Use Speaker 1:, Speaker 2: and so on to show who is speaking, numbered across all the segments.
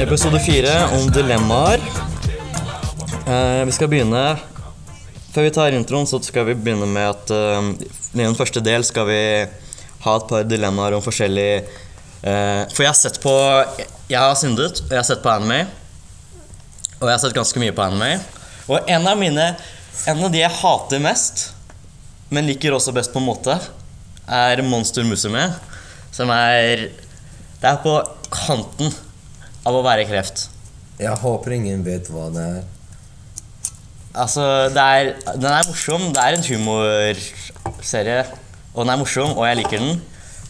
Speaker 1: Episode fire om dilemmaer. Eh, vi skal begynne Før vi tar introen, så skal vi begynne med at eh, i den første del skal vi ha et par dilemmaer om forskjellig eh, For jeg har sett på Jeg har syndet, og jeg har sett på anime. Og jeg har sett ganske mye på anime. Og en av mine En av de jeg hater mest, men liker også best på en måte, er Monster Musume. Som er Det er på kanten av å være kreft.
Speaker 2: Jeg håper ingen vet hva det er.
Speaker 1: Altså, det er, den er morsom. Det er en humorserie, og den er morsom, og jeg liker den.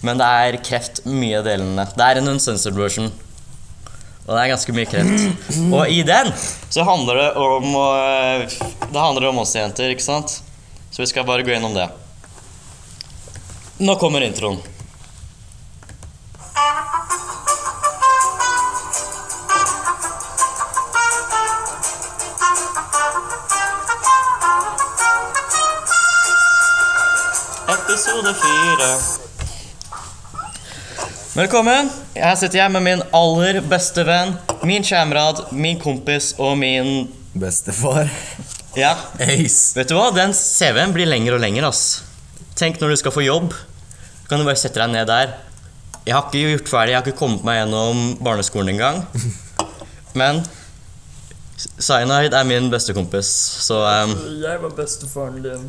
Speaker 1: Men det er kreft mye av delene. Det er en uncensored version. Og det er ganske mye kreft. Og i den så handler det om øh, Det handler om oss jenter, ikke sant? Så vi skal bare gå gjennom det. Nå kommer introen. Episode fire. Velkommen. Her sitter jeg med min aller beste venn, min kamerad, min kompis og min
Speaker 2: Bestefar.
Speaker 1: Ja,
Speaker 2: Ace.
Speaker 1: Vet du hva? Den CV-en blir lengre og lengre, ass. Tenk når du skal få jobb. Kan du bare sette deg ned der. Jeg har ikke gjort ferdig, jeg har ikke kommet meg gjennom barneskolen engang. Men Zainaid er min beste kompis, så um,
Speaker 3: Altså, Jeg var bestefaren din.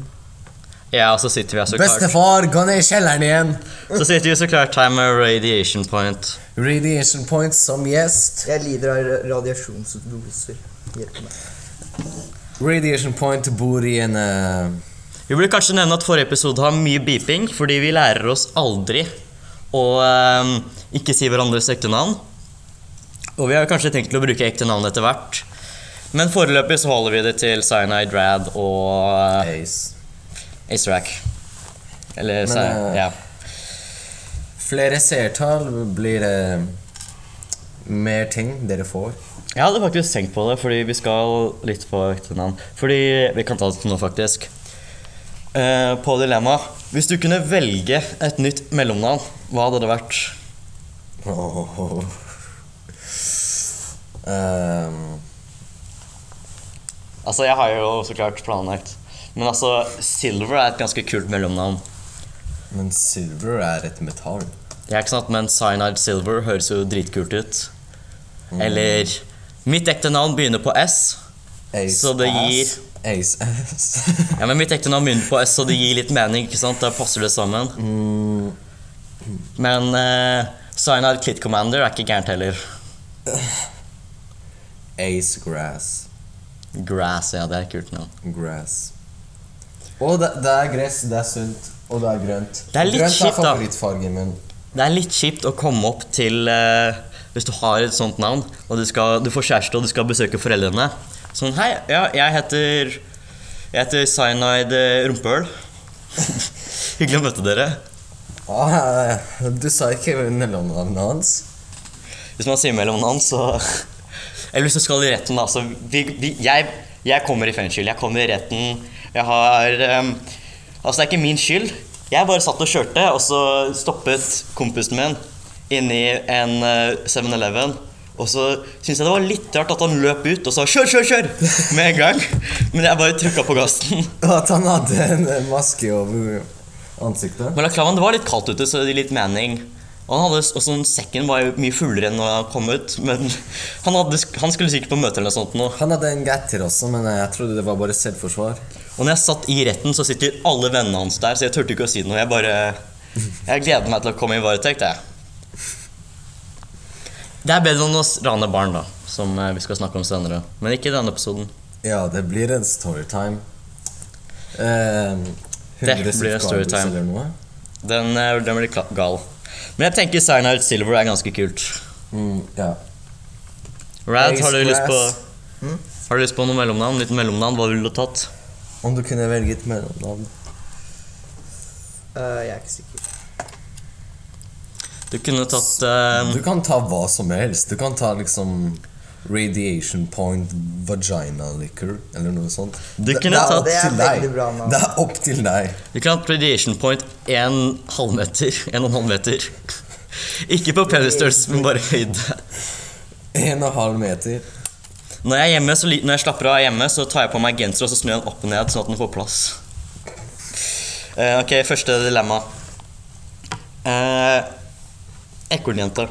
Speaker 1: Ja, og så sitter vi her så klart
Speaker 2: Bestefar, gå ned i kjelleren igjen!
Speaker 1: Så sitter vi så klart her med Radiation Point.
Speaker 2: Radiation points som gjest.
Speaker 3: Jeg lider av ra- radiasjonsdoser. Hjelp meg.
Speaker 2: Radiation point bor i en eh,
Speaker 1: Vi burde kanskje nevne at forrige episode har mye beeping, fordi vi lærer oss aldri å eh, ikke si hverandres ekte navn. Og vi har kanskje tenkt til å bruke ekte navn etter hvert. Men foreløpig så holder vi det til Cyanide Rad og uh,
Speaker 2: Ace.
Speaker 1: Acerac. Eller
Speaker 2: Men,
Speaker 1: Cy...
Speaker 2: eh,
Speaker 1: Ja.
Speaker 2: Flere seertall blir det eh, mer ting dere får.
Speaker 1: Jeg hadde faktisk tenkt på det, fordi vi skal litt på ekte navn. Fordi Vi kan ta det til nå, faktisk. Eh, på Dilemma. Hvis du kunne velge et nytt mellomnavn, hva hadde det vært?
Speaker 2: Åh. Ehm,
Speaker 1: Altså, jeg har jo så klart planlagt. Men altså, Silver er et ganske kult mellomnavn.
Speaker 2: men silver er et metall.
Speaker 1: Det er ikke sant, men Cyanide Silver høres jo dritkult ut.
Speaker 2: Mm.
Speaker 1: Eller Mitt ekte navn begynner på S.
Speaker 2: Mm. Ace
Speaker 1: Så det
Speaker 2: ass. Ace ass.
Speaker 1: Ja, men mitt ekte navn begynner på S, så det gir litt mening. ikke sant? Da passer det sammen.
Speaker 2: mm,
Speaker 1: Men uh, Cyanide Kid Commander er ikke gærent heller.
Speaker 2: ace grass.
Speaker 1: Grass, ja, det er et kult navn.
Speaker 2: Grass. Og det, det er gress, det er sunt, og det er grønt.
Speaker 1: Det er litt
Speaker 2: grønt
Speaker 1: kjipt,
Speaker 2: er
Speaker 1: da.
Speaker 2: favorittfargen min.
Speaker 1: Det er litt kjipt å komme opp til eh, Hvis du har et sånt navn, og du, skal, du får kjæreste og du skal besøke foreldrene. Sånn Hei, ja, jeg heter Jeg heter Cyanide Rumpøl. Hyggelig å møte dere.
Speaker 2: Ah, du sa ikke mellomnavnet hans.
Speaker 1: Hvis man sier mellomnavn, så Eller hvis du skal i retten, da, så vi, vi, jeg, jeg kommer i fengsel. Jeg kommer i retten. Jeg har ehm, Altså, det er ikke min skyld. Jeg bare satt og kjørte, og så stoppet kompisen min inni en eh, 7-Eleven. Og så syntes jeg det var litt rart at han løp ut og sa 'kjør, kjør, kjør' med en gang. Men jeg bare trykka på gassen.
Speaker 2: Og at han hadde en maske over ansiktet.
Speaker 1: Men Klavan, det var litt kaldt ute, så det gir litt mening. Og han hadde, og sånn, Sekken var jo mye fullere enn når han kom ut, men han, hadde, han skulle sikkert på møte eller noe sånt nå.
Speaker 2: Han hadde en gatter også, men jeg trodde det var bare selvforsvar.
Speaker 1: Og når jeg satt i retten, så sitter alle vennene hans der, så jeg turte ikke å si noe. Jeg bare Jeg gleder meg til å komme i varetekt, jeg. Det er bedre enn å rane barn, da, som eh, vi skal snakke om senere. Men ikke i denne episoden.
Speaker 2: Ja, det blir en storytime. Eh, 100
Speaker 1: Det blir en
Speaker 2: subscribers
Speaker 1: storytime.
Speaker 2: eller noe.
Speaker 1: Den, eh, den blir kla- gal. Men jeg tenker Cyanide Silver er ganske kult.
Speaker 2: Mm, ja.
Speaker 1: Rad, har du
Speaker 2: Ace
Speaker 1: lyst på
Speaker 2: Grass.
Speaker 1: Har du lyst på noe mellomnavn? Litt mellomnavn, hva ville du tatt?
Speaker 2: Om du kunne velge et mellomnavn.
Speaker 3: Eh, jeg er ikke sikker.
Speaker 1: Du kunne tatt eh,
Speaker 2: Du kan ta hva som helst. Du kan ta liksom Radiation Point Vagina Liquor eller noe sånt.
Speaker 1: Du kunne
Speaker 2: er
Speaker 1: tatt-
Speaker 2: opp
Speaker 3: Det er
Speaker 2: til deg.
Speaker 3: veldig bra navn.
Speaker 2: Det er opp til deg.
Speaker 1: Du kan ha radiation point en halvmeter. En og en halv meter. Ikke på penisstørrelse, men bare høyde.
Speaker 2: En og en halv meter.
Speaker 1: Når jeg, er hjemme, så, li- når jeg slapper av hjemme, så tar jeg på meg genser og så snur jeg den opp og ned, sånn at den får plass. Eh, ok, første dilemma. Eh, Ekornjenta.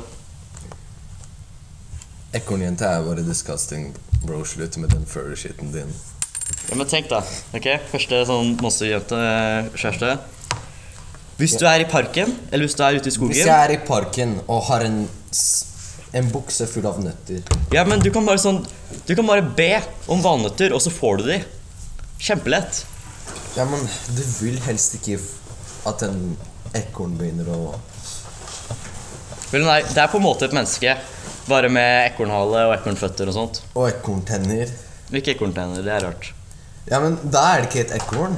Speaker 2: Ekornjente er bare disgusting. Bro, slutt med den furry-shitten din.
Speaker 1: Ja, men tenk da, ok? Første sånn monsterjente, eh, kjæreste. Hvis du er i parken, eller hvis du er ute i
Speaker 2: Hvis
Speaker 1: skogen
Speaker 2: jeg er i parken og har en, s- en bukse full av nøtter
Speaker 1: Ja, men du kan bare sånn Du kan bare be om valnøtter, og så får du de. Kjempelett.
Speaker 2: Ja, men du vil helst ikke f- at en ekorn begynner å
Speaker 1: Vel, nei, det er på en måte et menneske, bare med ekornhale og ekornføtter og sånt.
Speaker 2: Og ekorntenner.
Speaker 1: Ikke ekorntenner, det er rart.
Speaker 2: Ja, men da er det ikke et ekorn.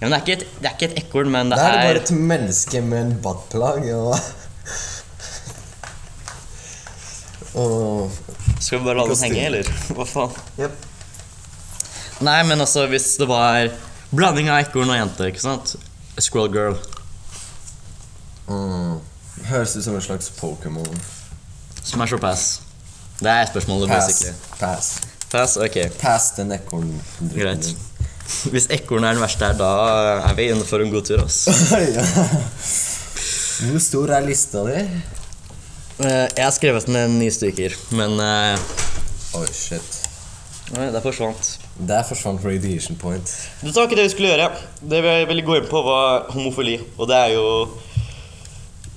Speaker 1: Ja, men det er ikke et, det er ikke et ekorn, men det
Speaker 2: Da er det
Speaker 1: er
Speaker 2: bare et menneske med en buttplug og Og
Speaker 1: Skal vi bare la den
Speaker 2: Kostyme.
Speaker 1: henge, eller? Hva faen?
Speaker 3: Jep.
Speaker 1: Nei, men altså, hvis det var blanding av ekorn og jente, ikke sant? Squirrel girl.
Speaker 2: mm, Høres ut som en slags Pokémon.
Speaker 1: Smash or pass? Det er spørsmålet,
Speaker 2: Pass.
Speaker 1: basically.
Speaker 2: Pass.
Speaker 1: Pass, ok.
Speaker 2: Pass den ekornen.
Speaker 1: Greit. Hvis ekorn er den verste her, da er vi inne for en god tur, ass.
Speaker 2: ja. Hvor stor er lista di?
Speaker 1: Eh, jeg har skrevet ned ni stykker, men eh,
Speaker 2: Oi, shit.
Speaker 1: Oi, det forsvant.
Speaker 2: Der forsvant radiation point.
Speaker 1: Dette var ikke det vi skulle gjøre. Det vi ville gå inn på, var homofili. Og det er jo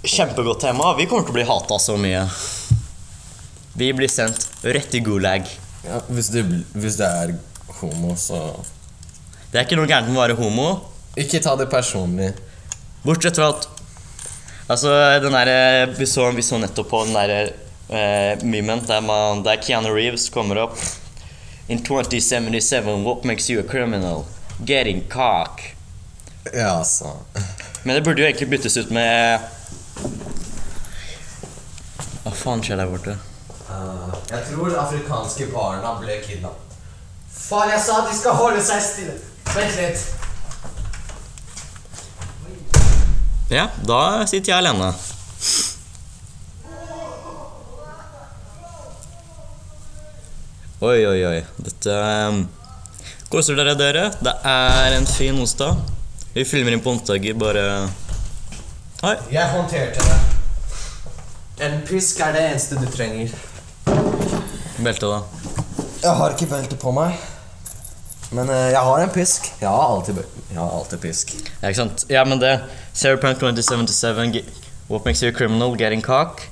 Speaker 1: kjempegodt tema. Vi kommer til å bli hata så mye. Vi blir sendt rett i gulag.
Speaker 2: Ja, hvis, du, hvis det er homo, så
Speaker 1: Det er ikke noe gærent med å være homo,
Speaker 2: Ikke ta det personlig.
Speaker 1: bortsett fra at Altså, den derre vi, så- vi så nettopp på den derre eh, memen der, man, der Keanu Reeves kommer opp. In 2077, what makes you a criminal? Getting cock.
Speaker 2: Ja, altså.
Speaker 1: Men det burde jo egentlig byttes ut med Hva faen skjer der borte?
Speaker 2: Eh, jeg tror afrikanske barna ble kidnappet. Faen, jeg sa de skal holde seg stille! Vent litt.
Speaker 1: Ja, da sitter jeg alene. Oi, oi, oi. Dette ehm, Koser dere, dere? Det er en fin onsdag. Vi filmer inn på onsdager, bare Hei.
Speaker 2: Jeg håndterte det. En pisk er det eneste du trenger.
Speaker 1: Belte, da.
Speaker 2: Jeg har ikke belte på meg. Men eh, jeg har en pisk. Jeg har alltid, bel- jeg har alltid pisk.
Speaker 1: Ja, ikke sant? Ja, men det Sarah Prank 2077, ge- What makes you a criminal? Getting cock?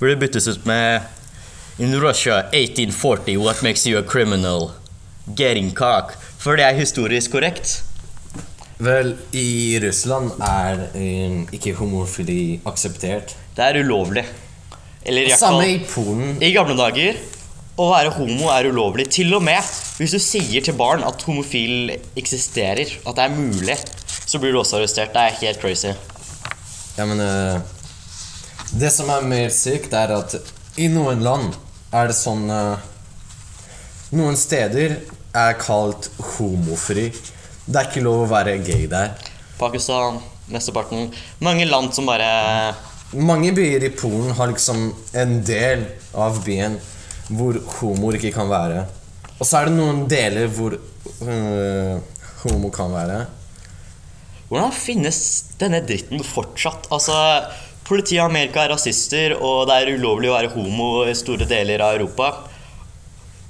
Speaker 1: Burde byttes ut med In Russia 1840, what makes you a criminal? Getting cock. For det er historisk korrekt.
Speaker 2: Vel, i Russland er eh, ikke homofili akseptert.
Speaker 1: Det er ulovlig. Eller i hvert
Speaker 2: Samme
Speaker 1: fall
Speaker 2: i Polen.
Speaker 1: I gamle dager å være homo er ulovlig. Til og med hvis du sier til barn at homofil eksisterer, at det er mulig, så blir du også arrestert. Det er helt crazy.
Speaker 2: Ja, men eh, Det som er mer sykt, er at i noen land er det sånn eh, Noen steder er kalt homofri. Det er ikke lov å være gay der.
Speaker 1: Pakistan, mesteparten Mange land som bare
Speaker 2: Mange byer i Polen har liksom en del av byen hvor homoer ikke kan være. Og så er det noen deler hvor eh, homo kan være.
Speaker 1: Hvordan finnes denne dritten fortsatt? Altså, Politiet i Amerika er rasister, og det er ulovlig å være homo i store deler av Europa.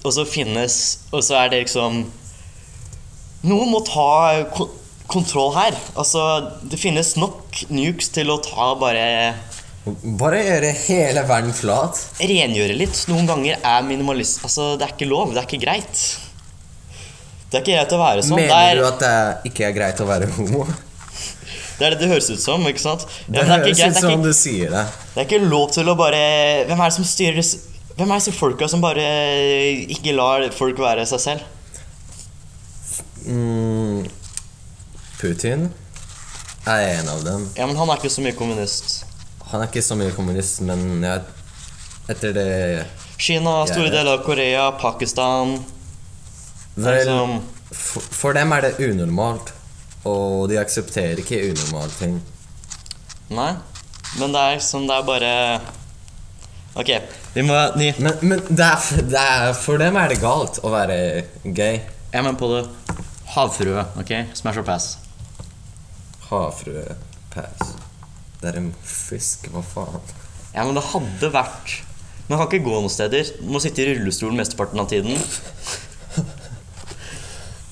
Speaker 1: Og så finnes Og så er det liksom Noen må ta ko kontroll her. Altså, det finnes nok nukes til å ta bare
Speaker 2: Bare gjøre hele verden flat.
Speaker 1: Rengjøre litt. Noen ganger er minimalist Altså, det er ikke lov. Det er ikke greit. Det er ikke greit å være sånn. Det
Speaker 2: Mener
Speaker 1: er,
Speaker 2: du at det ikke er greit å være homo?
Speaker 1: det er det det høres ut som, ikke sant? Ja, men er
Speaker 2: Det
Speaker 1: ikke greit,
Speaker 2: høres ut
Speaker 1: det er ikke-
Speaker 2: som du sier det.
Speaker 1: Det er ikke lov til å bare Hvem er det som styrer Hvem er disse folka som bare ikke lar folk være seg selv?
Speaker 2: Mm, Putin er en av dem.
Speaker 1: Ja, men han er ikke så mye kommunist.
Speaker 2: Han er ikke så mye kommunist, men jeg, etter det
Speaker 1: Kina, store
Speaker 2: Jeg vet.
Speaker 1: deler av Korea, Pakistan
Speaker 2: Vel,
Speaker 1: Liksom-
Speaker 2: for, for dem er det unormalt, og de aksepterer ikke unormale ting.
Speaker 1: Nei. Men det er sånn, det er bare Ok, vi må Ni.
Speaker 2: Men, men det er, f- det er, for dem er det galt å være gay.
Speaker 1: Jeg må på det. Havfrue. ok? Smash or pass.
Speaker 2: Havfrue paus. Det er en fisk, hva faen?
Speaker 1: Ja, men det hadde vært Man kan ikke gå noen steder. Man må sitte i rullestolen mesteparten av tiden.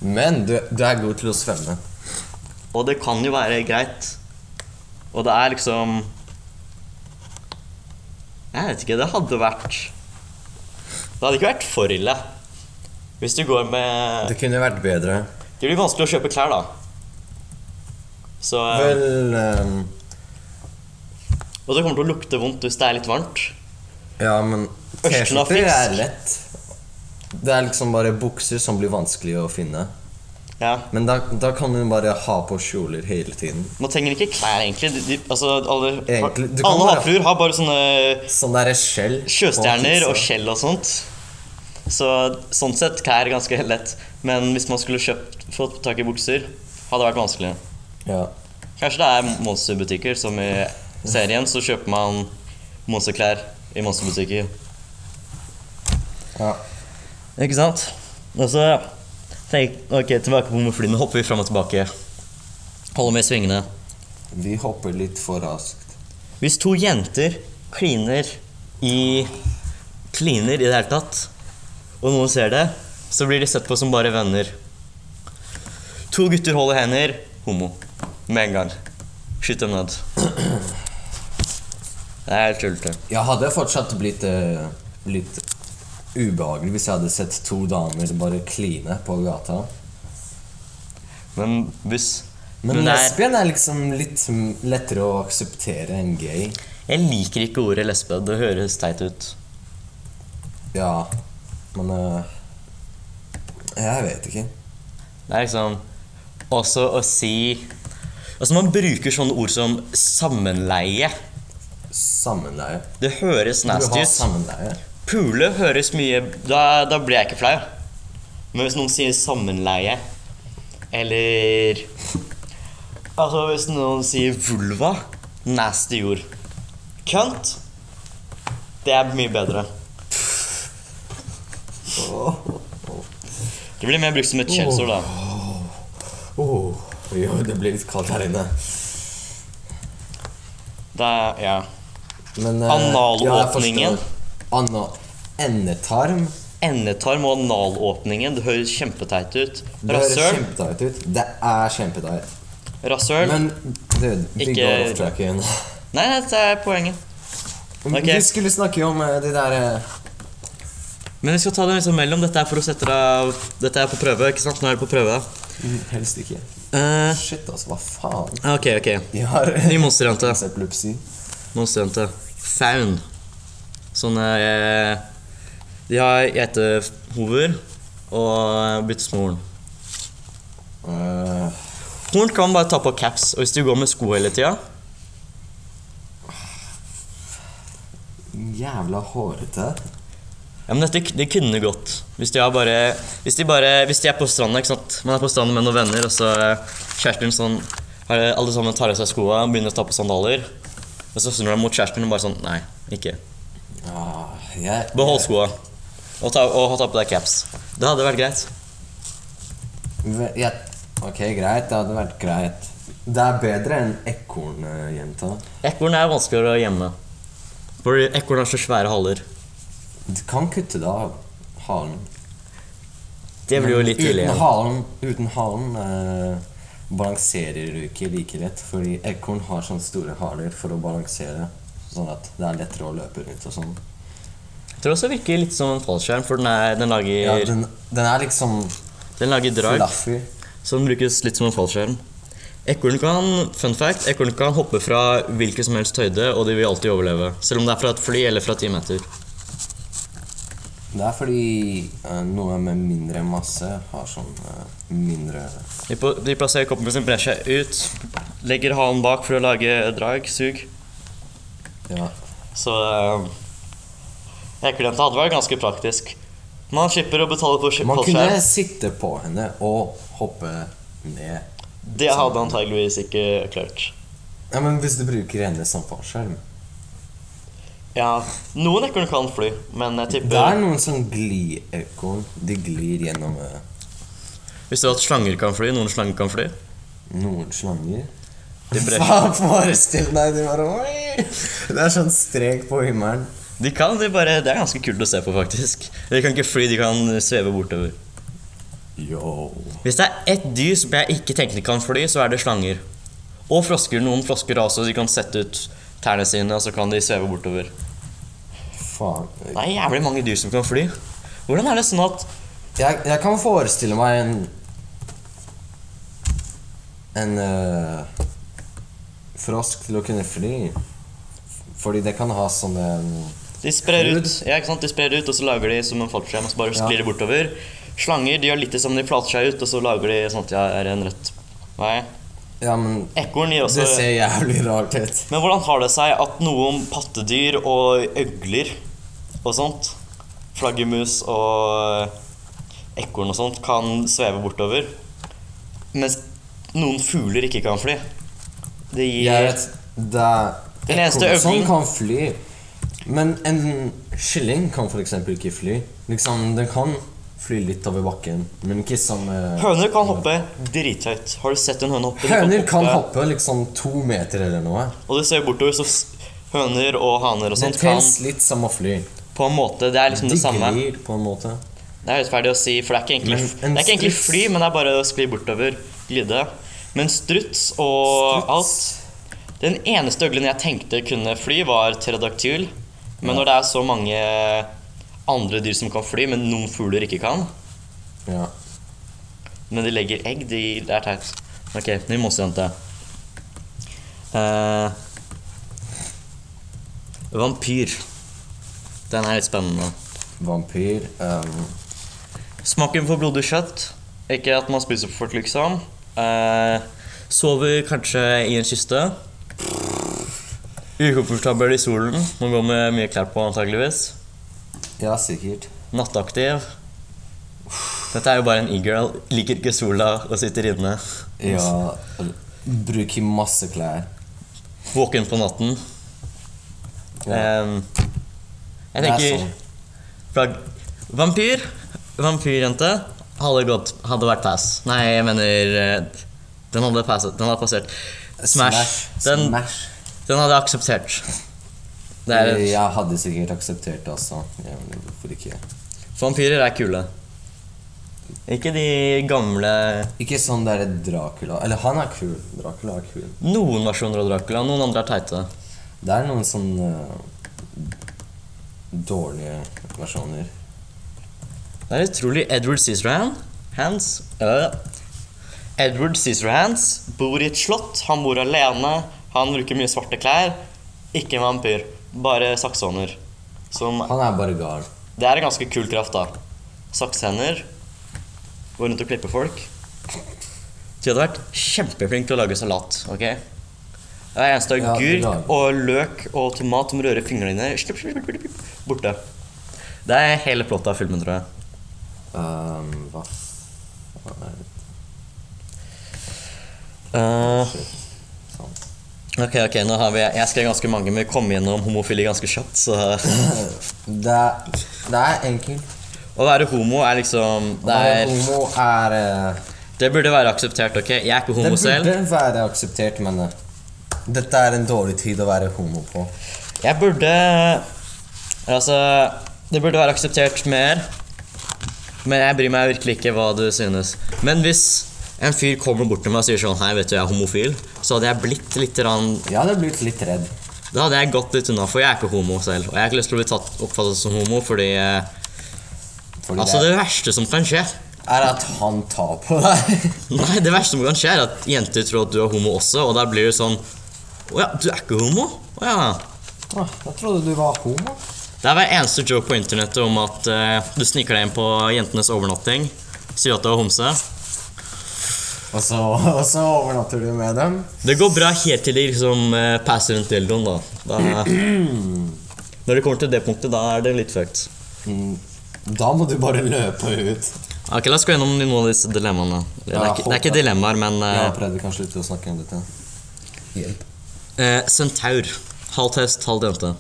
Speaker 2: Men du, du er god til å svømme.
Speaker 1: Og det kan jo være greit. Og det er liksom Jeg vet ikke. Det hadde vært Det hadde ikke vært for ille. Hvis du går med
Speaker 2: Det kunne vært bedre.
Speaker 1: Det blir vanskelig å kjøpe klær, da. Så eh,
Speaker 2: Vel ehm,
Speaker 1: Og det kommer til å lukte vondt hvis det er litt varmt.
Speaker 2: Ja, men
Speaker 1: Ørsten av
Speaker 2: T-skjorter
Speaker 1: fisk.
Speaker 2: er lett. Det er liksom bare bukser som blir vanskelig å finne.
Speaker 1: Ja.
Speaker 2: Men da, da kan du bare ha på kjoler hele tiden.
Speaker 1: Man trenger ikke klær, egentlig. De, de, altså, alle
Speaker 2: Egentlig, du kan
Speaker 1: alle
Speaker 2: bare-
Speaker 1: havfruer har bare sånne
Speaker 2: Sånn derre skjell. på
Speaker 1: sjøstjerner og
Speaker 2: tissa.
Speaker 1: skjell og sånt. Så sånn sett klær er ganske lett. Men hvis man skulle kjøpt, fått tak i bukser, hadde det vært vanskelig.
Speaker 2: Ja.
Speaker 1: Kanskje det er monsterbutikker, som i serien. Så kjøper man monsterklær i monsterbutikker.
Speaker 2: ja.
Speaker 1: Ikke sant? Og så tenk, Ok, tilbake på homofilien. Nå hopper vi fram og tilbake. Holder med i svingene.
Speaker 2: Vi hopper litt for raskt.
Speaker 1: Hvis to jenter kliner i Kliner i det hele tatt, og noen ser det, så blir de sett på som bare venner. To gutter holder hender homo. Med en gang. Skyt dem ned. Det er helt tullete.
Speaker 2: Jeg hadde fortsatt blitt eh, litt ubehagelig hvis jeg hadde sett to damer bare kline på gata.
Speaker 1: Men hvis
Speaker 2: Men
Speaker 1: Men det er-
Speaker 2: lesbien er liksom litt m- lettere å akseptere enn gay.
Speaker 1: Jeg liker ikke ordet lesbe. Det høres teit ut.
Speaker 2: Ja, men eh, Jeg vet ikke.
Speaker 1: Det er liksom Også å si Altså Man bruker sånne ord som sammenleie.
Speaker 2: Sammenleie.
Speaker 1: Det høres
Speaker 2: Du
Speaker 1: nasty
Speaker 2: har
Speaker 1: ut.
Speaker 2: sammenleie.
Speaker 1: Pule høres mye Da, da blir jeg ikke flau. Men hvis noen sier sammenleie, eller Altså, hvis noen sier vulva Nasty ord. Kønt Det er mye bedre. Det blir mer brukt som et skjellsord, da.
Speaker 2: Oh, jo, det blir litt kaldt her inne.
Speaker 1: Det er, ja.
Speaker 2: Men, eh,
Speaker 1: Analåpningen.
Speaker 2: jeg forstår. Ana endetarm.
Speaker 1: Endetarm og analåpningen. Det høres kjempeteit ut.
Speaker 2: Det høres
Speaker 1: Rasshøl.
Speaker 2: kjempeteit ut. Det er kjempeteit.
Speaker 1: Rasshøl.
Speaker 2: Men dude, vi
Speaker 1: Ikke-
Speaker 2: går off track igjen.
Speaker 1: Nei, nei, det er poenget. Ok.
Speaker 2: Vi skulle snakke om eh, de der eh,
Speaker 1: Men vi skal ta det liksom mellom. Dette er for å sette deg Dette er på prøve, ikke sant? Nå er det på prøve.
Speaker 2: mm, Helst ikke.
Speaker 1: Eh,
Speaker 2: Shit, altså. Hva faen?
Speaker 1: ok, ok.
Speaker 2: De har
Speaker 1: Ny monsterjente.
Speaker 2: epilepsi.
Speaker 1: Monsterjente. Faun. Sånne eh, De har geitehover og bytter små horn.
Speaker 2: Eh,
Speaker 1: Horn kan man bare ta på caps, og hvis du går med sko hele tida
Speaker 2: jævla hårete.
Speaker 1: ja, men dette det kunne gått. Hvis de, har bare, hvis de bare Hvis de er på stranda ikke sant? Man er på stranda med noen venner, og så eh, kjæresten sånn har, Alle sammen tar av seg skoa og begynner å ta på sandaler. Og så snur de mot kjæresten og bare sånn Nei, ikke.
Speaker 2: Ah, jeg,
Speaker 1: Behold skoa. Og ta, og ta på deg caps. Det hadde vært greit.
Speaker 2: Ve- Jeg, ok, greit. Det hadde vært greit. Det er bedre enn ekornjenta.
Speaker 1: Ekorn er vanskeligere å gjemme. For ekorn har så svære haler.
Speaker 2: Du kan kutte det av halen.
Speaker 1: Det blir jo litt ille
Speaker 2: Uten
Speaker 1: igjen.
Speaker 2: halen, uten halen eh, balanserer du ikke like lett. Fordi ekorn har sånne store haler for å balansere. Sånn at det er lettere å løpe rundt og sånn.
Speaker 1: Jeg tror også det virker litt som en fallskjerm, for den, er, den,
Speaker 2: Ja,
Speaker 1: lager,
Speaker 2: den, den er liksom
Speaker 1: den lager drag,
Speaker 2: fluffy.
Speaker 1: så den brukes litt som en fallskjerm. Ekorn kan fun fact, ekorn kan hoppe fra hvilken som helst høyde, og de vil alltid overleve. Selv om det er fra et fly eller fra ti meter.
Speaker 2: Det er fordi eh, noe med mindre masse har sånn eh, mindre
Speaker 1: De, på, de plasserer koppen sin, brer seg ut, legger halen bak for å lage drag, sug.
Speaker 2: Ja.
Speaker 1: Så eh, ekornjenta hadde vært ganske praktisk. Man slipper å betale for sk-
Speaker 2: Man
Speaker 1: fallskjerm.
Speaker 2: kunne sitte på henne og hoppe ned.
Speaker 1: Det hadde antageligvis ikke klart.
Speaker 2: Ja, men Hvis du bruker henne som fallskjerm
Speaker 1: Ja, noen ekorn kan fly, men jeg tipper
Speaker 2: Det er noen som glir ekorn. De glir gjennom eh,
Speaker 1: Visste du at slanger kan fly? Noen slanger kan fly.
Speaker 2: noen slanger.
Speaker 1: De, bres-
Speaker 2: Faen, forestill deg de bare oi! Det er sånn strek på himmelen.
Speaker 1: de kan, de bare Det er ganske kult å se på, faktisk. De kan ikke fly, de kan sveve bortover.
Speaker 2: Yo.
Speaker 1: Hvis det er ett dyr som jeg ikke tenker kan fly, så er det slanger. Og frosker. Noen frosker også. De kan sette ut tærne sine, og så kan de sveve bortover.
Speaker 2: Faen.
Speaker 1: Det er jævlig mange dyr som kan fly. Hvordan er det sånn at
Speaker 2: Jeg, jeg kan forestille meg en En eh, frosk til å kunne fly. Fordi det kan ha sånne
Speaker 1: de sprer ut, ja, ikke sant? De sprer ut og så lager de som en fallskjerm, og så bare
Speaker 2: Ja.
Speaker 1: sklir de bortover? Slanger de gjør litt det samme, de flater seg ut, og så lager de sånn at jeg er en rødt Nei.
Speaker 2: Ja, men
Speaker 1: Ekorn gir også
Speaker 2: det ser jævlig rart ut.
Speaker 1: Men hvordan har det seg at noen pattedyr og øgler og sånt, flaggermus og ekorn og sånt, kan sveve bortover, mens noen fugler ikke kan fly? Det gir
Speaker 2: Jeg vet det er
Speaker 1: Den eneste
Speaker 2: ekorn som
Speaker 1: øglen-
Speaker 2: kan fly. Men en kylling kan f.eks. ikke fly. Liksom, Den kan fly litt over bakken, men ikke som eh,
Speaker 1: Høner kan hoppe drithøyt. Har du sett en høne hoppe? De
Speaker 2: Høner kan hoppe liksom to meter eller noe.
Speaker 1: Og du ser bortover, så s- høner og haner og
Speaker 2: Det
Speaker 1: sånt kan
Speaker 2: telles litt som å fly.
Speaker 1: på en måte Det er liksom
Speaker 2: De
Speaker 1: det samme.
Speaker 2: glir på en måte.
Speaker 1: Det er rettferdig å si, for det er ikke egentlig,
Speaker 2: Men en
Speaker 1: det er ikke egentlig
Speaker 2: struts-
Speaker 1: fly, men det er bare å skli bortover. Glide. Men struts og alt Den eneste øglen jeg tenkte kunne fly, var pterodactyl. Men når det er så mange andre dyr som kan fly, men noen fugler ikke kan
Speaker 2: Ja.
Speaker 1: Men de legger egg, de, det er teit. Ok, ny mossejente. Eh, vampyr. Den er litt spennende.
Speaker 2: Vampyr ehm,
Speaker 1: Smaken for blodig kjøtt. Ikke at man spiser for folk, liksom. Eh, sover kanskje i en kiste. Ukomfortabel i solen. Må gå med mye klær på, antageligvis.
Speaker 2: Ja, sikkert.
Speaker 1: Nattaktiv. Dette er jo bare en e-girl. Liker ikke sola og sitter inne.
Speaker 2: Ja. Bruker masse klær.
Speaker 1: Våken på natten.
Speaker 2: Ja.
Speaker 1: Eh, jeg
Speaker 2: Det er
Speaker 1: tenker
Speaker 2: sånn.
Speaker 1: plagg... Vampyr. Vampyrjente. Hadde gått Hadde vært pass. Nei, jeg mener eh, Den hadde passet. Den hadde passert. Smash. Den,
Speaker 2: Smash.
Speaker 1: den hadde jeg akseptert. Det er,
Speaker 2: Jeg hadde sikkert akseptert det også. Ja, men hvorfor ikke?
Speaker 1: vampyrer er kule. Ikke de gamle
Speaker 2: Ikke sånn der Dracula Eller han er kul. Dracula er kul.
Speaker 1: Noen versjoner av Dracula, noen andre er teite.
Speaker 2: Det er noen sånn eh, dårlige versjoner.
Speaker 1: Det er utrolig Edward Scissorhands Hands øh. Edward Scissorhands bor i et slott. Han bor alene. Han bruker mye svarte klær. Ikke en vampyr, bare saksehånder. Som
Speaker 2: Han er bare gal.
Speaker 1: Det er en ganske kul kraft, da. Saksehender. Gå rundt og klippe folk. De hadde vært kjempeflinke til å lage salat. ok? Det er eneste
Speaker 2: Ja,
Speaker 1: agurk
Speaker 2: lager.
Speaker 1: og løk og tomat som rører fingrene dine slipp, slipp, slipp, slipp, slipp, borte. Det er hele plottet av filmen, tror jeg.
Speaker 2: Ehm, hva faen er det?
Speaker 1: Eh,
Speaker 2: Sånn.
Speaker 1: ok, ok, nå har vi Jeg skrev ganske mange, men vi kom gjennom homofili ganske kjapt. Så
Speaker 2: Det er, det er enkelt.
Speaker 1: å være homo er liksom Det, er,
Speaker 2: Homo er eh,
Speaker 1: det burde være akseptert, ok? Jeg er ikke
Speaker 2: Det
Speaker 1: homo selv.
Speaker 2: burde være akseptert, men eh, dette er en dårlig tid å være homo på.
Speaker 1: Jeg burde Altså, det burde være akseptert mer. Men jeg bryr meg virkelig ikke hva du synes. Men hvis en fyr kommer bort til meg og sier sånn Hei, vet du, jeg er homofil. Så hadde jeg blitt litt rann,
Speaker 2: Jeg hadde blitt litt redd.
Speaker 1: Da hadde jeg gått litt unna, for jeg er ikke homo selv. Og jeg har ikke lyst til å bli tatt, oppfattet som homo fordi eh,
Speaker 2: Fordi
Speaker 1: Altså,
Speaker 2: det
Speaker 1: det verste som kan skje
Speaker 2: er at han tar på deg.
Speaker 1: Nei, det verste som kan skje er at jenter tror at du er homo også, og da blir det sånn Å ja, du er ikke homo? Å ja.
Speaker 2: Åh, Jeg trodde du var homo.
Speaker 1: Det er hver eneste joke på internettet om at eh, du sniker deg inn på jentenes overnatting, sier at du er homse.
Speaker 2: Og så, og så overnatter du med dem.
Speaker 1: Det går bra helt til de liksom eh, passer rundt dildoen, da. da. Når det kommer til det punktet, da er det litt fucked.
Speaker 2: Mm, Da må du bare løpe ut.
Speaker 1: Ok, La oss gå gjennom noen av disse dilemmaene. Det er
Speaker 2: Ja,
Speaker 1: ikke, det er ikke dilemmaer, men
Speaker 2: Jeg
Speaker 1: eh,
Speaker 2: har prøvd å slutte å snakke om dette. Hjelp.
Speaker 1: eh, Sentaur. Halv hest, halv jente.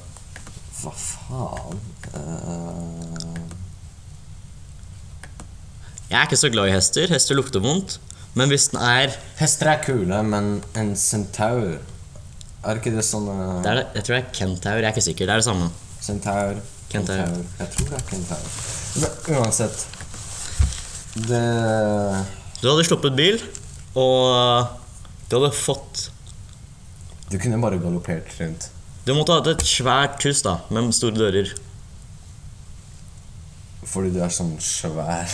Speaker 2: Hva faen? Eh,
Speaker 1: Jeg er ikke så glad i hester. Hester lukter vondt. Men hvis den er,
Speaker 2: hester er kule, men en centaur Er ikke det sånn eh,
Speaker 1: det er Jeg tror det er kentaur. Jeg er ikke sikker. Det er det samme.
Speaker 2: Kentaur.
Speaker 1: Kentaur.
Speaker 2: Jeg tror det er kentaur. Men uansett Det
Speaker 1: Du hadde sluppet bil, og du hadde fått
Speaker 2: Du kunne bare galoppert rundt.
Speaker 1: Du måtte ha hatt et svært hus da, med store dører.
Speaker 2: Fordi du er sånn svær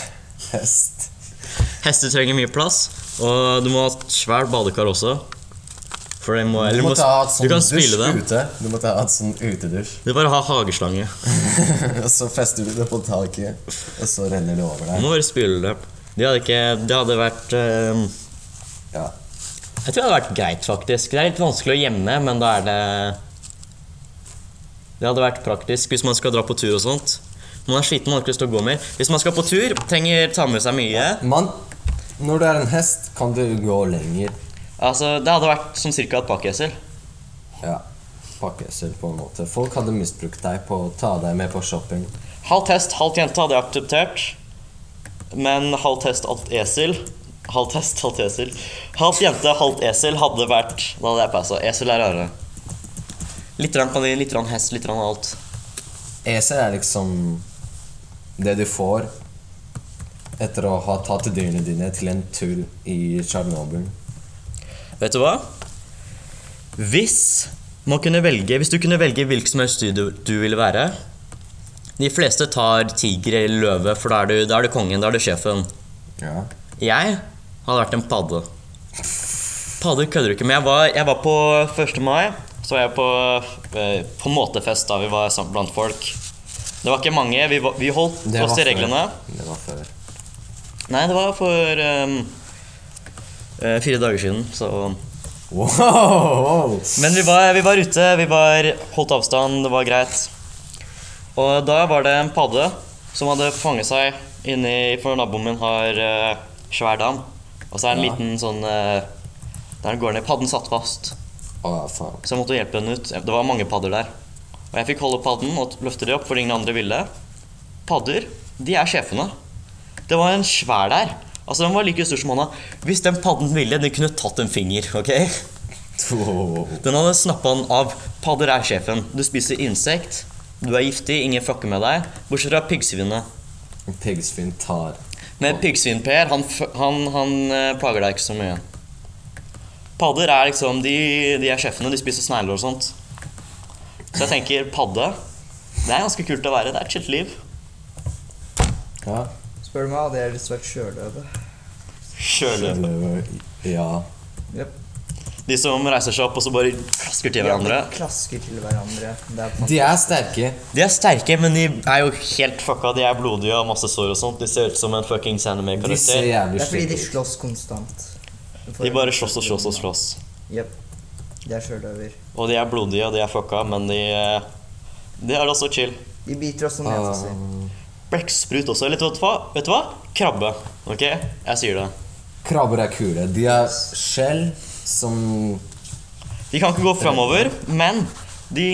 Speaker 2: hest.
Speaker 1: Hester trenger mye plass, og du må ha et svært badekar også. For det må,
Speaker 2: Du
Speaker 1: eller må-
Speaker 2: måtte ha hatt
Speaker 1: du
Speaker 2: sånn
Speaker 1: kan
Speaker 2: dusj
Speaker 1: spyle dem.
Speaker 2: ute. Du måtte ha hatt sånn utedusj.
Speaker 1: Du bare ha hageslange.
Speaker 2: og så fester du det på taket, og så renner det over
Speaker 1: Du
Speaker 2: deg.
Speaker 1: må bare spyle det. Det hadde ikke Det hadde vært eh,
Speaker 2: Ja.
Speaker 1: Jeg tror det hadde vært greit, faktisk. Det er litt vanskelig å gjemme, men da er det Det hadde vært praktisk hvis man skal dra på tur og sånt. Man er sliten, man har ikke lyst til å gå mer. Hvis man skal på tur, trenger ta med seg mye.
Speaker 2: Men når du er en hest, kan du gå lenger.
Speaker 1: Altså, Det hadde vært som cirka et pakkeesel.
Speaker 2: Ja. Pakkesel, på en måte. Folk hadde misbrukt deg på å ta deg med på shopping.
Speaker 1: Halvt hest, halvt jente hadde jeg akseptert. Men halvt hest, halvt esel Halvt hest, halvt esel. Halvt jente, halvt esel hadde vært Da hadde jeg passa. Esel er rarere. Litt grann kanin, litt grann hest, litt grann alt.
Speaker 2: Esel er liksom det du får etter å ha tatt dyrene dine til en tur i Tsjernobyl.
Speaker 1: Vet du hva? Hvis man kunne velge Hvis du kunne velge hvilken som helst dyr du, du ville være De fleste tar tiger eller løve, for da er du, da er du kongen, da er du sjefen.
Speaker 2: Ja.
Speaker 1: Jeg hadde vært en padde. Padder kødder du ikke med. Jeg var, jeg var på 1. mai. Så var jeg på, eh, på måtefest da vi var sammen blant folk. Det var ikke mange. Vi, var- vi holdt
Speaker 2: Det
Speaker 1: oss
Speaker 2: var
Speaker 1: til
Speaker 2: før.
Speaker 1: reglene.
Speaker 2: Det var før.
Speaker 1: Nei, det var for eh, eh, fire dager siden, så
Speaker 2: Wow!
Speaker 1: Men vi var, vi var ute, vi var holdt avstand, det var greit. Og da var det en padde som hadde fanget seg inni For naboen min har eh, svær dam. Og så er det en
Speaker 2: Ja.
Speaker 1: liten sånn eh, Der den går ned. Padden satt fast,
Speaker 2: Å, Ah, faen.
Speaker 1: så jeg måtte hjelpe henne ut. Det var mange padder der. Og jeg fikk holde padden og løfte de opp, for ingen andre ville. Padder, de er sjefene. Det var en svær der. Altså, Den var like stor som hånda. Hvis den padden ville, den kunne tatt en finger. ok?
Speaker 2: Wow.
Speaker 1: Den hadde snappa han av. Padder er sjefen. Du spiser insekt. Du er giftig, ingen fucker med deg. Bortsett fra piggsvinet.
Speaker 2: Piggsvin tar
Speaker 1: Men piggsvin-Per, han, f- han, han eh, plager deg ikke så mye. Padder er liksom De, de er sjefene. De spiser snegler og sånt. Så jeg tenker padde Det er ganske kult å være. Det er et chill liv.
Speaker 2: Ja.
Speaker 3: Spør du meg, hadde jeg lyst til å være sjøløve.
Speaker 1: Sjøløve.
Speaker 2: ja.
Speaker 1: De som reiser seg opp og så bare klasker til hverandre.
Speaker 3: De klasker til hverandre. Det er
Speaker 2: De er sterke.
Speaker 1: De er sterke, men de er jo helt fucka. De er blodige og har masse sår og sånt. De ser ut som en fuckings
Speaker 2: De ser
Speaker 1: anime-karakter.
Speaker 3: Det
Speaker 2: jævlig
Speaker 3: er fordi de
Speaker 2: slike ut.
Speaker 3: slåss konstant.
Speaker 1: De bare slåss og slåss og slåss.
Speaker 3: Jep. De er sjøløver.
Speaker 1: Og de er blodige, og de er fucka, men de eh, De er også chill.
Speaker 3: De biter oss om nesa si.
Speaker 2: Ah,
Speaker 1: Blekksprut også. Eller vet du hva? Vet du hva? Krabbe. Ok? Jeg sier det.
Speaker 2: Krabber er kule. De har skjell som
Speaker 1: De kan ikke gå framover, men de,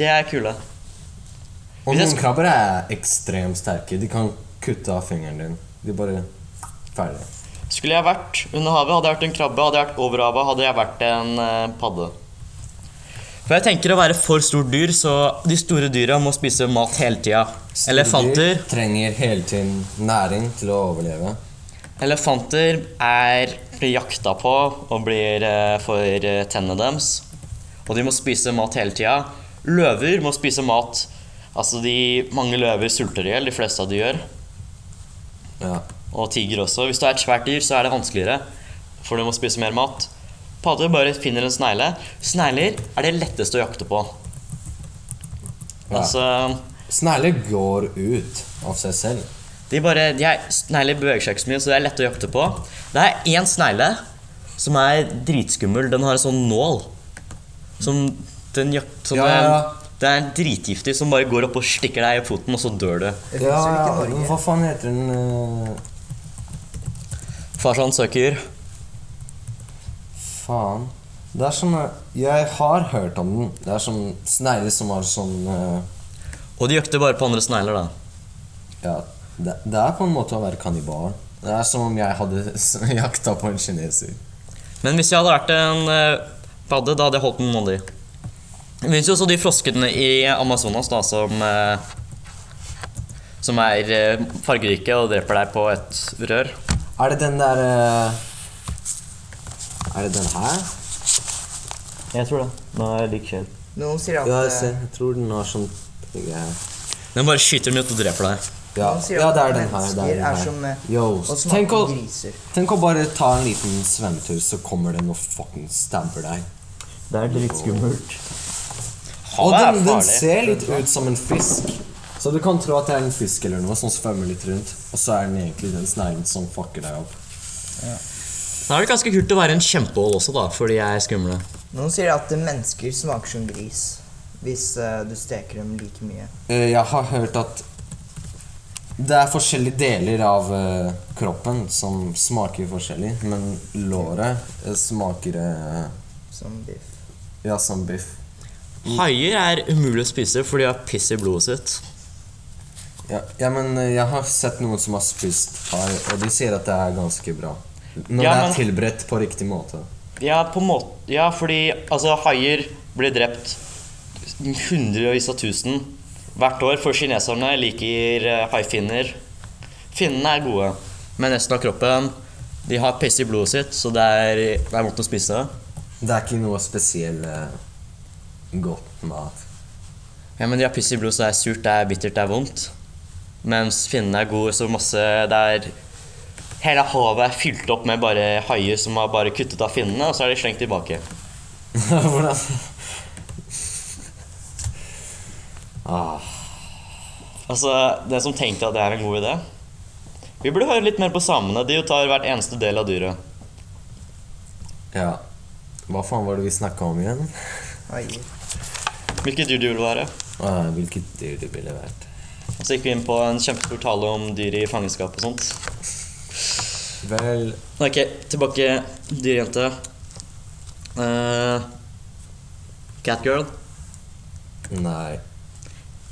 Speaker 1: de er kule.
Speaker 2: Og
Speaker 1: Hvis jeg
Speaker 2: noen
Speaker 1: sk-
Speaker 2: krabber er ekstremt sterke. De kan kutte av fingeren din. De bare Ferdig.
Speaker 1: Skulle jeg vært under havet, hadde jeg vært en krabbe. Hadde jeg vært over havet, hadde jeg vært en eh, padde. For jeg tenker å være for stort dyr, så de store dyra må spise mat hele tida. Elefanter
Speaker 2: Dyr trenger hele tiden næring til å overleve.
Speaker 1: Elefanter er, blir jakta på og blir eh, for eh, tennene deres. Og de må spise mat hele tida. Løver må spise mat. Altså, de, mange løver sulter i hjel, de fleste av de gjør.
Speaker 2: Ja.
Speaker 1: Og tiger også. Hvis du er et svært dyr, så er det vanskeligere, for du må spise mer mat. Padder bare finner en snegle. Snegler er det letteste å jakte på.
Speaker 2: Ja.
Speaker 1: Altså,
Speaker 2: Snegler går ut av seg selv.
Speaker 1: de bare, de er, Snegler beveger seg ikke så mye, så det er lett å jakte på. Det er én snegle som er dritskummel. Den har en sånn nål som den jak... Som
Speaker 2: Ja, ja, ja.
Speaker 1: Det er dritgiftig som bare går opp og stikker deg i foten, og så dør du.
Speaker 3: Det
Speaker 2: Ah. Ja,
Speaker 3: finnes jo ikke i
Speaker 2: men
Speaker 3: Norge.
Speaker 2: hva faen heter den eh,
Speaker 1: Farsan søker.
Speaker 2: Faen. Det er sånn eh, Jeg har hørt om den. Det er sånn snegler som har sånn eh,
Speaker 1: Og de jakter bare på andres negler, da.
Speaker 2: Ja, det, det er på en måte å være kannibal. Det er som om jeg hadde s- jakta på en kineser.
Speaker 1: Men hvis jeg hadde vært en eh, padde, da hadde jeg holdt noen av de. Det fins jo også de froskene i Amazonas da, som eh, Som er eh, fargerike og dreper deg på et rør.
Speaker 2: Er det den der eh, Er det den her?
Speaker 1: Jeg tror det. Den er lik skjell.
Speaker 3: Noen sier at
Speaker 2: Ja, jeg,
Speaker 3: eh,
Speaker 2: ser, jeg tror den har sånn greier.
Speaker 1: Den bare skyter den ut og dreper deg.
Speaker 2: Ja,
Speaker 3: Noen sier
Speaker 2: ja,
Speaker 3: at
Speaker 2: det er den her. Det
Speaker 3: mennesker
Speaker 2: er den
Speaker 3: er
Speaker 2: her.
Speaker 3: som, eh,
Speaker 2: Yo,
Speaker 3: og smaker
Speaker 2: tenk å,
Speaker 3: griser.
Speaker 2: tenk å bare ta en liten svømmetur, så kommer den og fucking stabber deg.
Speaker 1: Det er dritskummelt.
Speaker 2: Og
Speaker 1: Havet er
Speaker 2: den, den
Speaker 1: farlig.
Speaker 2: ser litt ut som en fisk. Så du kan tro at det er en fisk eller noe som svømmer litt rundt, og så er den egentlig den sneglen som fucker deg opp.
Speaker 1: Da er det ganske kult å være en kjempehål også, da, fordi jeg er skumle.
Speaker 3: Noen sier at eh, mennesker smaker som gris hvis eh, du steker dem like mye.
Speaker 2: Eh, Jeg har hørt at det er forskjellige deler av eh, kroppen som smaker forskjellig, men låret eh, smaker eh,
Speaker 3: Som biff.
Speaker 2: ja, som biff.
Speaker 1: Haier er umulig å spise fordi de har piss i blodet sitt.
Speaker 2: Ja, ja, men eh, jeg har sett noen som har spist hai, og de sier at det er ganske bra. Når
Speaker 1: Ja,
Speaker 2: det
Speaker 1: men-
Speaker 2: er tilberedt på riktig måte.
Speaker 1: Ja, på en måte Ja, fordi altså, haier blir drept hundrevis av tusen hvert år, for kineserne liker eh, haifinner. Finnene er gode, men resten av kroppen De har piss i blodet sitt, så det er, det er vondt å spise.
Speaker 2: Det er ikke noe spesiell eh, godt mat.
Speaker 1: Ja, men de har piss i blodet, så det er surt, det er bittert, det er vondt. Mens finnene er gode, så masse Det er Hele havet er fylt opp med bare haier som har bare kuttet av finnene, og så er de slengt tilbake.
Speaker 2: Hvordan ah,
Speaker 1: Altså, Den som tenkte at det er en god idé Vi burde høre litt mer på samene. De jo tar hvert eneste del av dyret.
Speaker 2: Ja. Hva faen var det vi snakka om igjen?
Speaker 3: Haier.
Speaker 1: Hvilket dyr du vil være.
Speaker 2: Ah, hvilket dyr det ville vært.
Speaker 1: Og så gikk vi inn på en kjempestor tale om dyr i fangenskap og sånt.
Speaker 2: Vel
Speaker 1: Ok, tilbake dyrjente. Uh, Catgirl.
Speaker 2: Nei.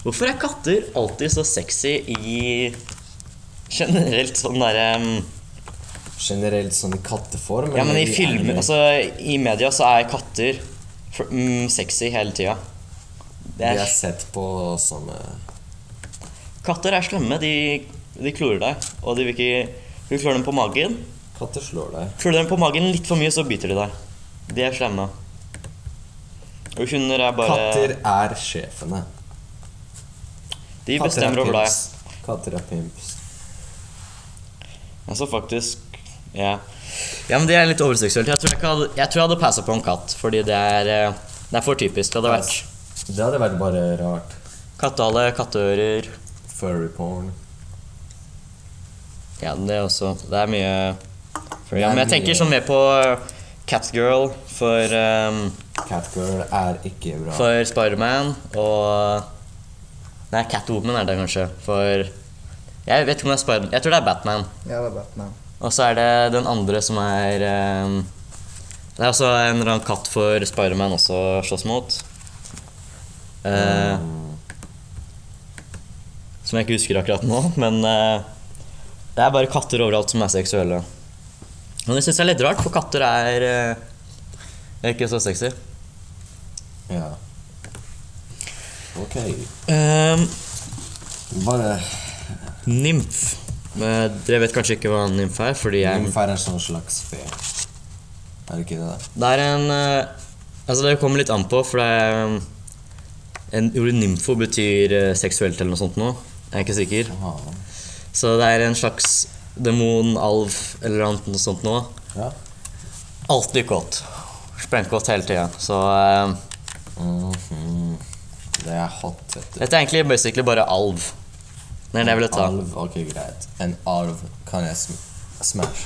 Speaker 1: Hvorfor er katter alltid så sexy i Generelt sånn derre um,
Speaker 2: Generelt sånn i katteform?
Speaker 1: Ja, men i
Speaker 2: eller
Speaker 1: filmer
Speaker 2: anime?
Speaker 1: Altså, i media så er katter for, mm, sexy hele tida.
Speaker 2: De er sett på som eh,
Speaker 1: Katter er slemme. De, de klorer deg. Og de vil ikke Du klør dem på magen.
Speaker 2: Katter slår deg.
Speaker 1: Klør dem på magen litt for mye, så biter de deg. De er slemme. Og hunder er bare
Speaker 2: Katter er sjefene.
Speaker 1: De
Speaker 2: Katter er
Speaker 1: bestemmer over deg.
Speaker 2: pimps. Katter er pimps.
Speaker 1: Altså faktisk Ja. Ja, men det er litt overseksuelt. Jeg tror jeg, ikke hadde, jeg, tror jeg hadde passa på en katt, fordi det er, eh, det er for typisk. Det hadde vært
Speaker 2: Det hadde vært bare rart.
Speaker 1: kattehale, katteører
Speaker 2: Furry porn.
Speaker 1: Ja, det er også Det er mye for,
Speaker 2: Det
Speaker 1: ja,
Speaker 2: er
Speaker 1: Men jeg
Speaker 2: mye-
Speaker 1: tenker sånn mer på Catgirl for, um,
Speaker 2: Catgirl er ikke bra.
Speaker 1: for Spiderman og eh, Nei, Catwoman er det kanskje. For Jeg vet ikke om det er Spider... Jeg tror det er Batman.
Speaker 3: Ja, det er Batman.
Speaker 1: Og så er det den andre som er um, Det er også en eller annen katt for Spiderman også å slåss mot. Eh, Som jeg ikke husker akkurat nå, men eh, det er bare katter overalt som er seksuelle. Men det syns jeg er litt rart, for katter er eh, ikke så sexy.
Speaker 2: Ja. Ok.
Speaker 1: Um,
Speaker 2: Bare
Speaker 1: nymf. Eh, dere vet kanskje ikke hva en nymf er, fordi jeg
Speaker 2: Nymfer er en sånn slags fe. Er det ikke det? da?
Speaker 1: Det er en eh, Altså, det kommer litt an på, for det er um, en, Ordet nymfo betyr eh, seksuelt eller noe sånt nå. Jeg er ikke sikker.
Speaker 2: Faen.
Speaker 1: Så det er en slags demon, alv eller annet noe sånt nå.
Speaker 2: Ja.
Speaker 1: Alltid kåt. Sprengkåt hele tida. Så eh,
Speaker 2: Mhm. Det er hot, vet du.
Speaker 1: dette er egentlig basically bare alv. Det er det jeg ville ta.
Speaker 2: Alv, ok, greit. En alv kan jeg sm smash.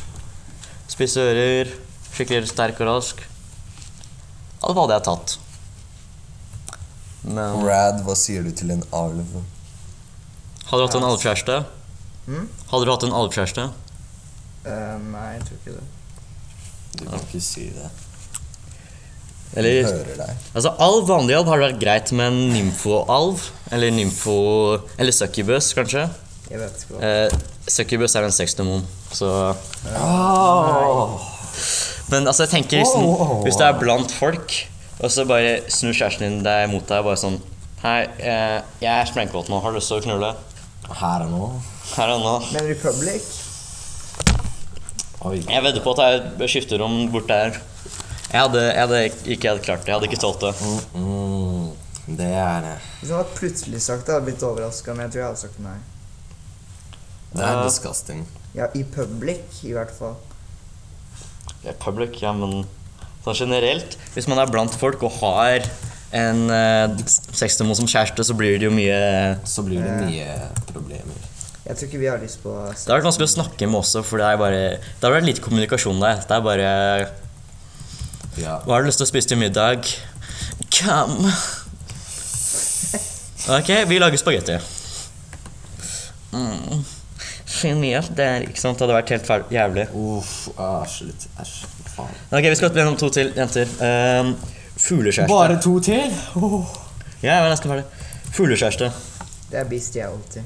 Speaker 1: Spisse ører, skikkelig sterk og rask. Alv hadde jeg tatt. Men
Speaker 2: Rad, hva sier du til en alv?
Speaker 1: Hadde du hatt en alvkjæreste?
Speaker 3: Mm?
Speaker 1: Hadde du hatt en alvkjæreste?
Speaker 3: Eh, nei, jeg tror ikke det.
Speaker 2: Du kan ikke si det.
Speaker 1: Eller
Speaker 2: hører deg.
Speaker 1: Altså, alv vanlig alv har vært greit, men nymfo-alv, eller nymfo... Eller succubus, kanskje.
Speaker 3: Jeg vet ikke hva.
Speaker 1: Eh, succubus er en sexdemon, så Men altså, jeg tenker hvis, den,
Speaker 2: Wow.
Speaker 1: hvis det er blant folk, og så bare snur kjæresten din deg mot deg og bare sånn Hei, eh, jeg er sprengkåt nå. Har du lyst til å knulle?
Speaker 2: Her og nå.
Speaker 1: Her og nå.
Speaker 3: Men Republic
Speaker 2: Oi.
Speaker 1: Jeg vedder på at det er et skifterom bort der. Jeg hadde, jeg hadde ikke hadde klart det. Jeg hadde ikke tålt det.
Speaker 2: Mm, det er det.
Speaker 3: Hvis han hadde plutselig sagt det, hadde jeg blitt overraska, men jeg tror jeg hadde sagt nei.
Speaker 2: Det er
Speaker 1: Ja.
Speaker 2: disgusting.
Speaker 3: Ja, i public, i hvert fall.
Speaker 1: Ja, Public, ja, men sånn generelt Hvis man er blant folk og har en eh, sexdemon som kjæreste, så blir det jo mye Det
Speaker 2: Så blir det mye problemer.
Speaker 3: Jeg tror ikke vi har lyst på sex.
Speaker 1: har vært vanskelig å snakke med også, for det er bare Det har vært lite kommunikasjon der. Det er bare
Speaker 2: Ja.
Speaker 1: Hva har du lyst til å spise til middag? Kam. Ok, vi lager spagetti. Mm. Genialt. Det er ikke sant? Det hadde vært helt fæl- jævlig.
Speaker 2: Uff, æsj, litt æsj. Faen.
Speaker 1: Ok, vi skal gjennom to til, jenter. Um, Fuglekjæreste.
Speaker 2: Bare to til?
Speaker 1: Ja, jeg var nesten ferdig. Fuglekjæreste.
Speaker 3: Det er bestiality.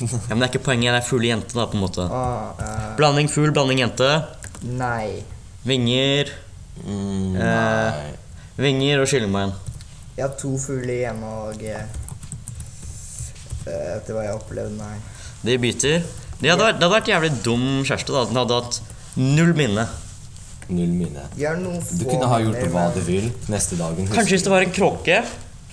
Speaker 1: Ja, men det er ikke poenget, det er fugle jente da, på en måte.
Speaker 3: Ah, eh,
Speaker 1: Blanding fugl, blanding jente.
Speaker 3: nei.
Speaker 1: Vinger,
Speaker 2: Mm,
Speaker 1: Eh.
Speaker 2: nei.
Speaker 1: vinger og skyllebein.
Speaker 3: Jeg har to fugler hjemme, og eh, eh, etter hva jeg opplevde, nei.
Speaker 1: De biter. De hadde, vært, det hadde vært jævlig dum kjæreste da, den hadde hatt null minne.
Speaker 2: Null mine.
Speaker 3: De har noen få
Speaker 2: Du kunne ha gjort
Speaker 3: minner,
Speaker 2: hva
Speaker 3: men
Speaker 2: du vil neste dagen.
Speaker 1: Kanskje hvis det var en kråke,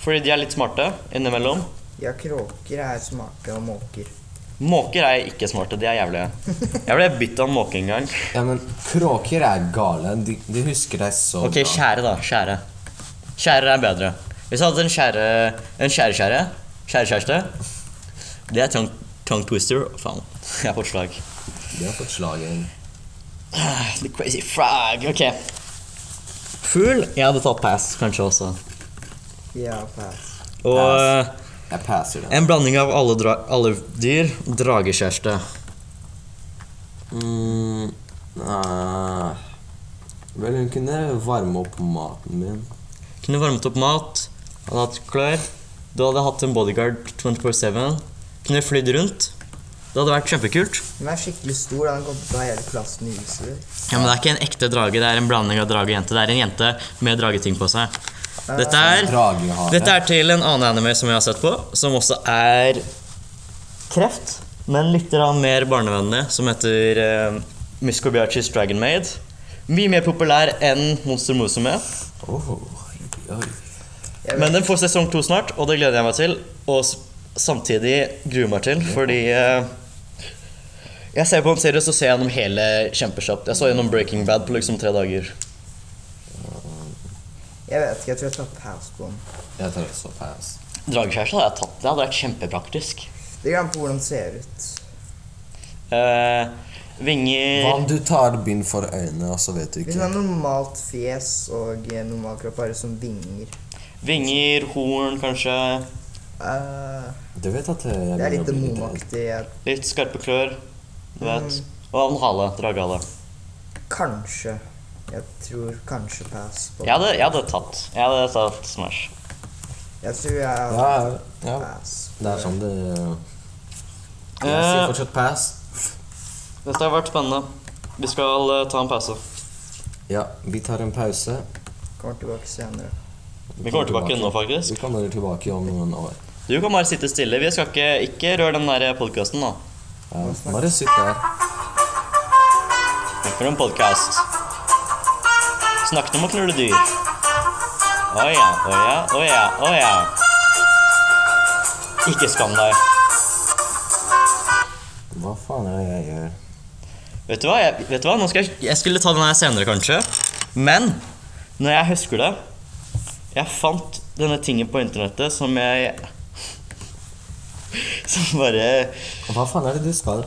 Speaker 1: fordi de er litt smarte innimellom.
Speaker 3: Ja, kråker er smarte og måker.
Speaker 1: Måker er ikke smarte, de er jævlige. Jeg ble bitt av en måke en gang.
Speaker 2: Ja, men Kråker er gale. De, de husker deg så
Speaker 1: Ok,
Speaker 2: bra.
Speaker 1: skjære da, skjære. Skjære er bedre. Hvis jeg hadde en skjære, en skjære-skjære, skjære-kjæreste, det er tongue, tongue twister. Faen, jeg har fått slag.
Speaker 2: De har fått slagen.
Speaker 1: Ah, The crazy frog. Ok. Fugl? Jeg hadde tatt pass, kanskje også.
Speaker 3: Ja, pass.
Speaker 1: Og eh,
Speaker 2: Pass. Jeg passer den.
Speaker 1: en blanding av alle, dra alle dyr. Dragekjæreste.
Speaker 2: Mm, nei. Vel, hun kunne varme opp maten min.
Speaker 1: Kunne varmet opp mat. Hadde hatt klær. Du hadde hatt en bodyguard 24-7. Kunne flydd rundt. Det hadde vært kjempekult.
Speaker 3: Den er skikkelig stor, da. den kommer til å ta hele klassen i huset.
Speaker 1: Ja, Men det er ikke en ekte drage. Det er en blanding av drage og jente. Det er en jente med drageting på seg. Dette er,
Speaker 2: Dragehare.
Speaker 1: dette er til en annen anime som jeg har sett på, som også er kreft, men litt grann mer barnevennlig, som heter uh, Muscobiachis Dragon Maid. Mye mer populær enn Monster Musume,
Speaker 2: Åh, oi, oi.
Speaker 3: Jeg
Speaker 1: men
Speaker 3: vet,
Speaker 1: den får sesong to snart, og det gleder jeg meg til. Og s- samtidig gruer jeg meg til, fordi eh, jeg ser på en serie, så ser jeg gjennom hele kjempekjapt. Jeg så gjennom Breaking Bad på liksom tre dager.
Speaker 3: jeg vet ikke, jeg tror jeg tar pass på den.
Speaker 2: Jeg tar også pass.
Speaker 1: Dragekjæreste hadde jeg tatt. Det hadde vært kjempepraktisk.
Speaker 3: Det går an på hvordan den ser ut.
Speaker 1: Eh, vinger
Speaker 2: Hva om du tar bind for øynene, og så vet du
Speaker 3: Hvis den
Speaker 2: ikke?
Speaker 3: har normalt fjes og eh, normal kropp, bare som vinger.
Speaker 1: Vinger, horn, kanskje.
Speaker 3: Eh,
Speaker 2: Du vet at eh, jeg
Speaker 3: det
Speaker 2: begynner
Speaker 3: er
Speaker 2: å
Speaker 3: litt
Speaker 2: bli
Speaker 3: momaktig. jeg-
Speaker 1: Litt skarpe klør. Du vet. Og en hale. Dragehale.
Speaker 3: Kanskje. Jeg tror kanskje pass på
Speaker 1: Jeg hadde, jeg hadde tatt. Jeg hadde tatt Smash.
Speaker 3: Jeg tror jeg har
Speaker 2: Ja, ja.
Speaker 3: pass.
Speaker 2: Det er sånn det Jeg
Speaker 1: Eh.
Speaker 2: sier fortsatt pass.
Speaker 1: Dette har vært spennende. Vi skal eh, ta en pause.
Speaker 2: Ja, vi tar en pause.
Speaker 3: Kommer tilbake senere.
Speaker 1: Vi kommer tilbake nå, faktisk.
Speaker 2: Vi kommer tilbake om noen år.
Speaker 1: Du kan bare sitte stille. Vi skal ikke, ikke røre den der podkasten, da.
Speaker 2: Ja, bare sitt der.
Speaker 1: Snakker om podkast. Snakket om å knulle dyr. Å ja, å ja, å ja, å ja. Ikke skam deg.
Speaker 2: Hva faen er det jeg gjør?
Speaker 1: Vet du hva? Jeg, vet du hva? Nå skal jeg, jeg skulle ta den her senere, kanskje. Men når jeg husker det Jeg fant denne tingen på internettet som jeg Som bare
Speaker 2: Hva faen er det du skal?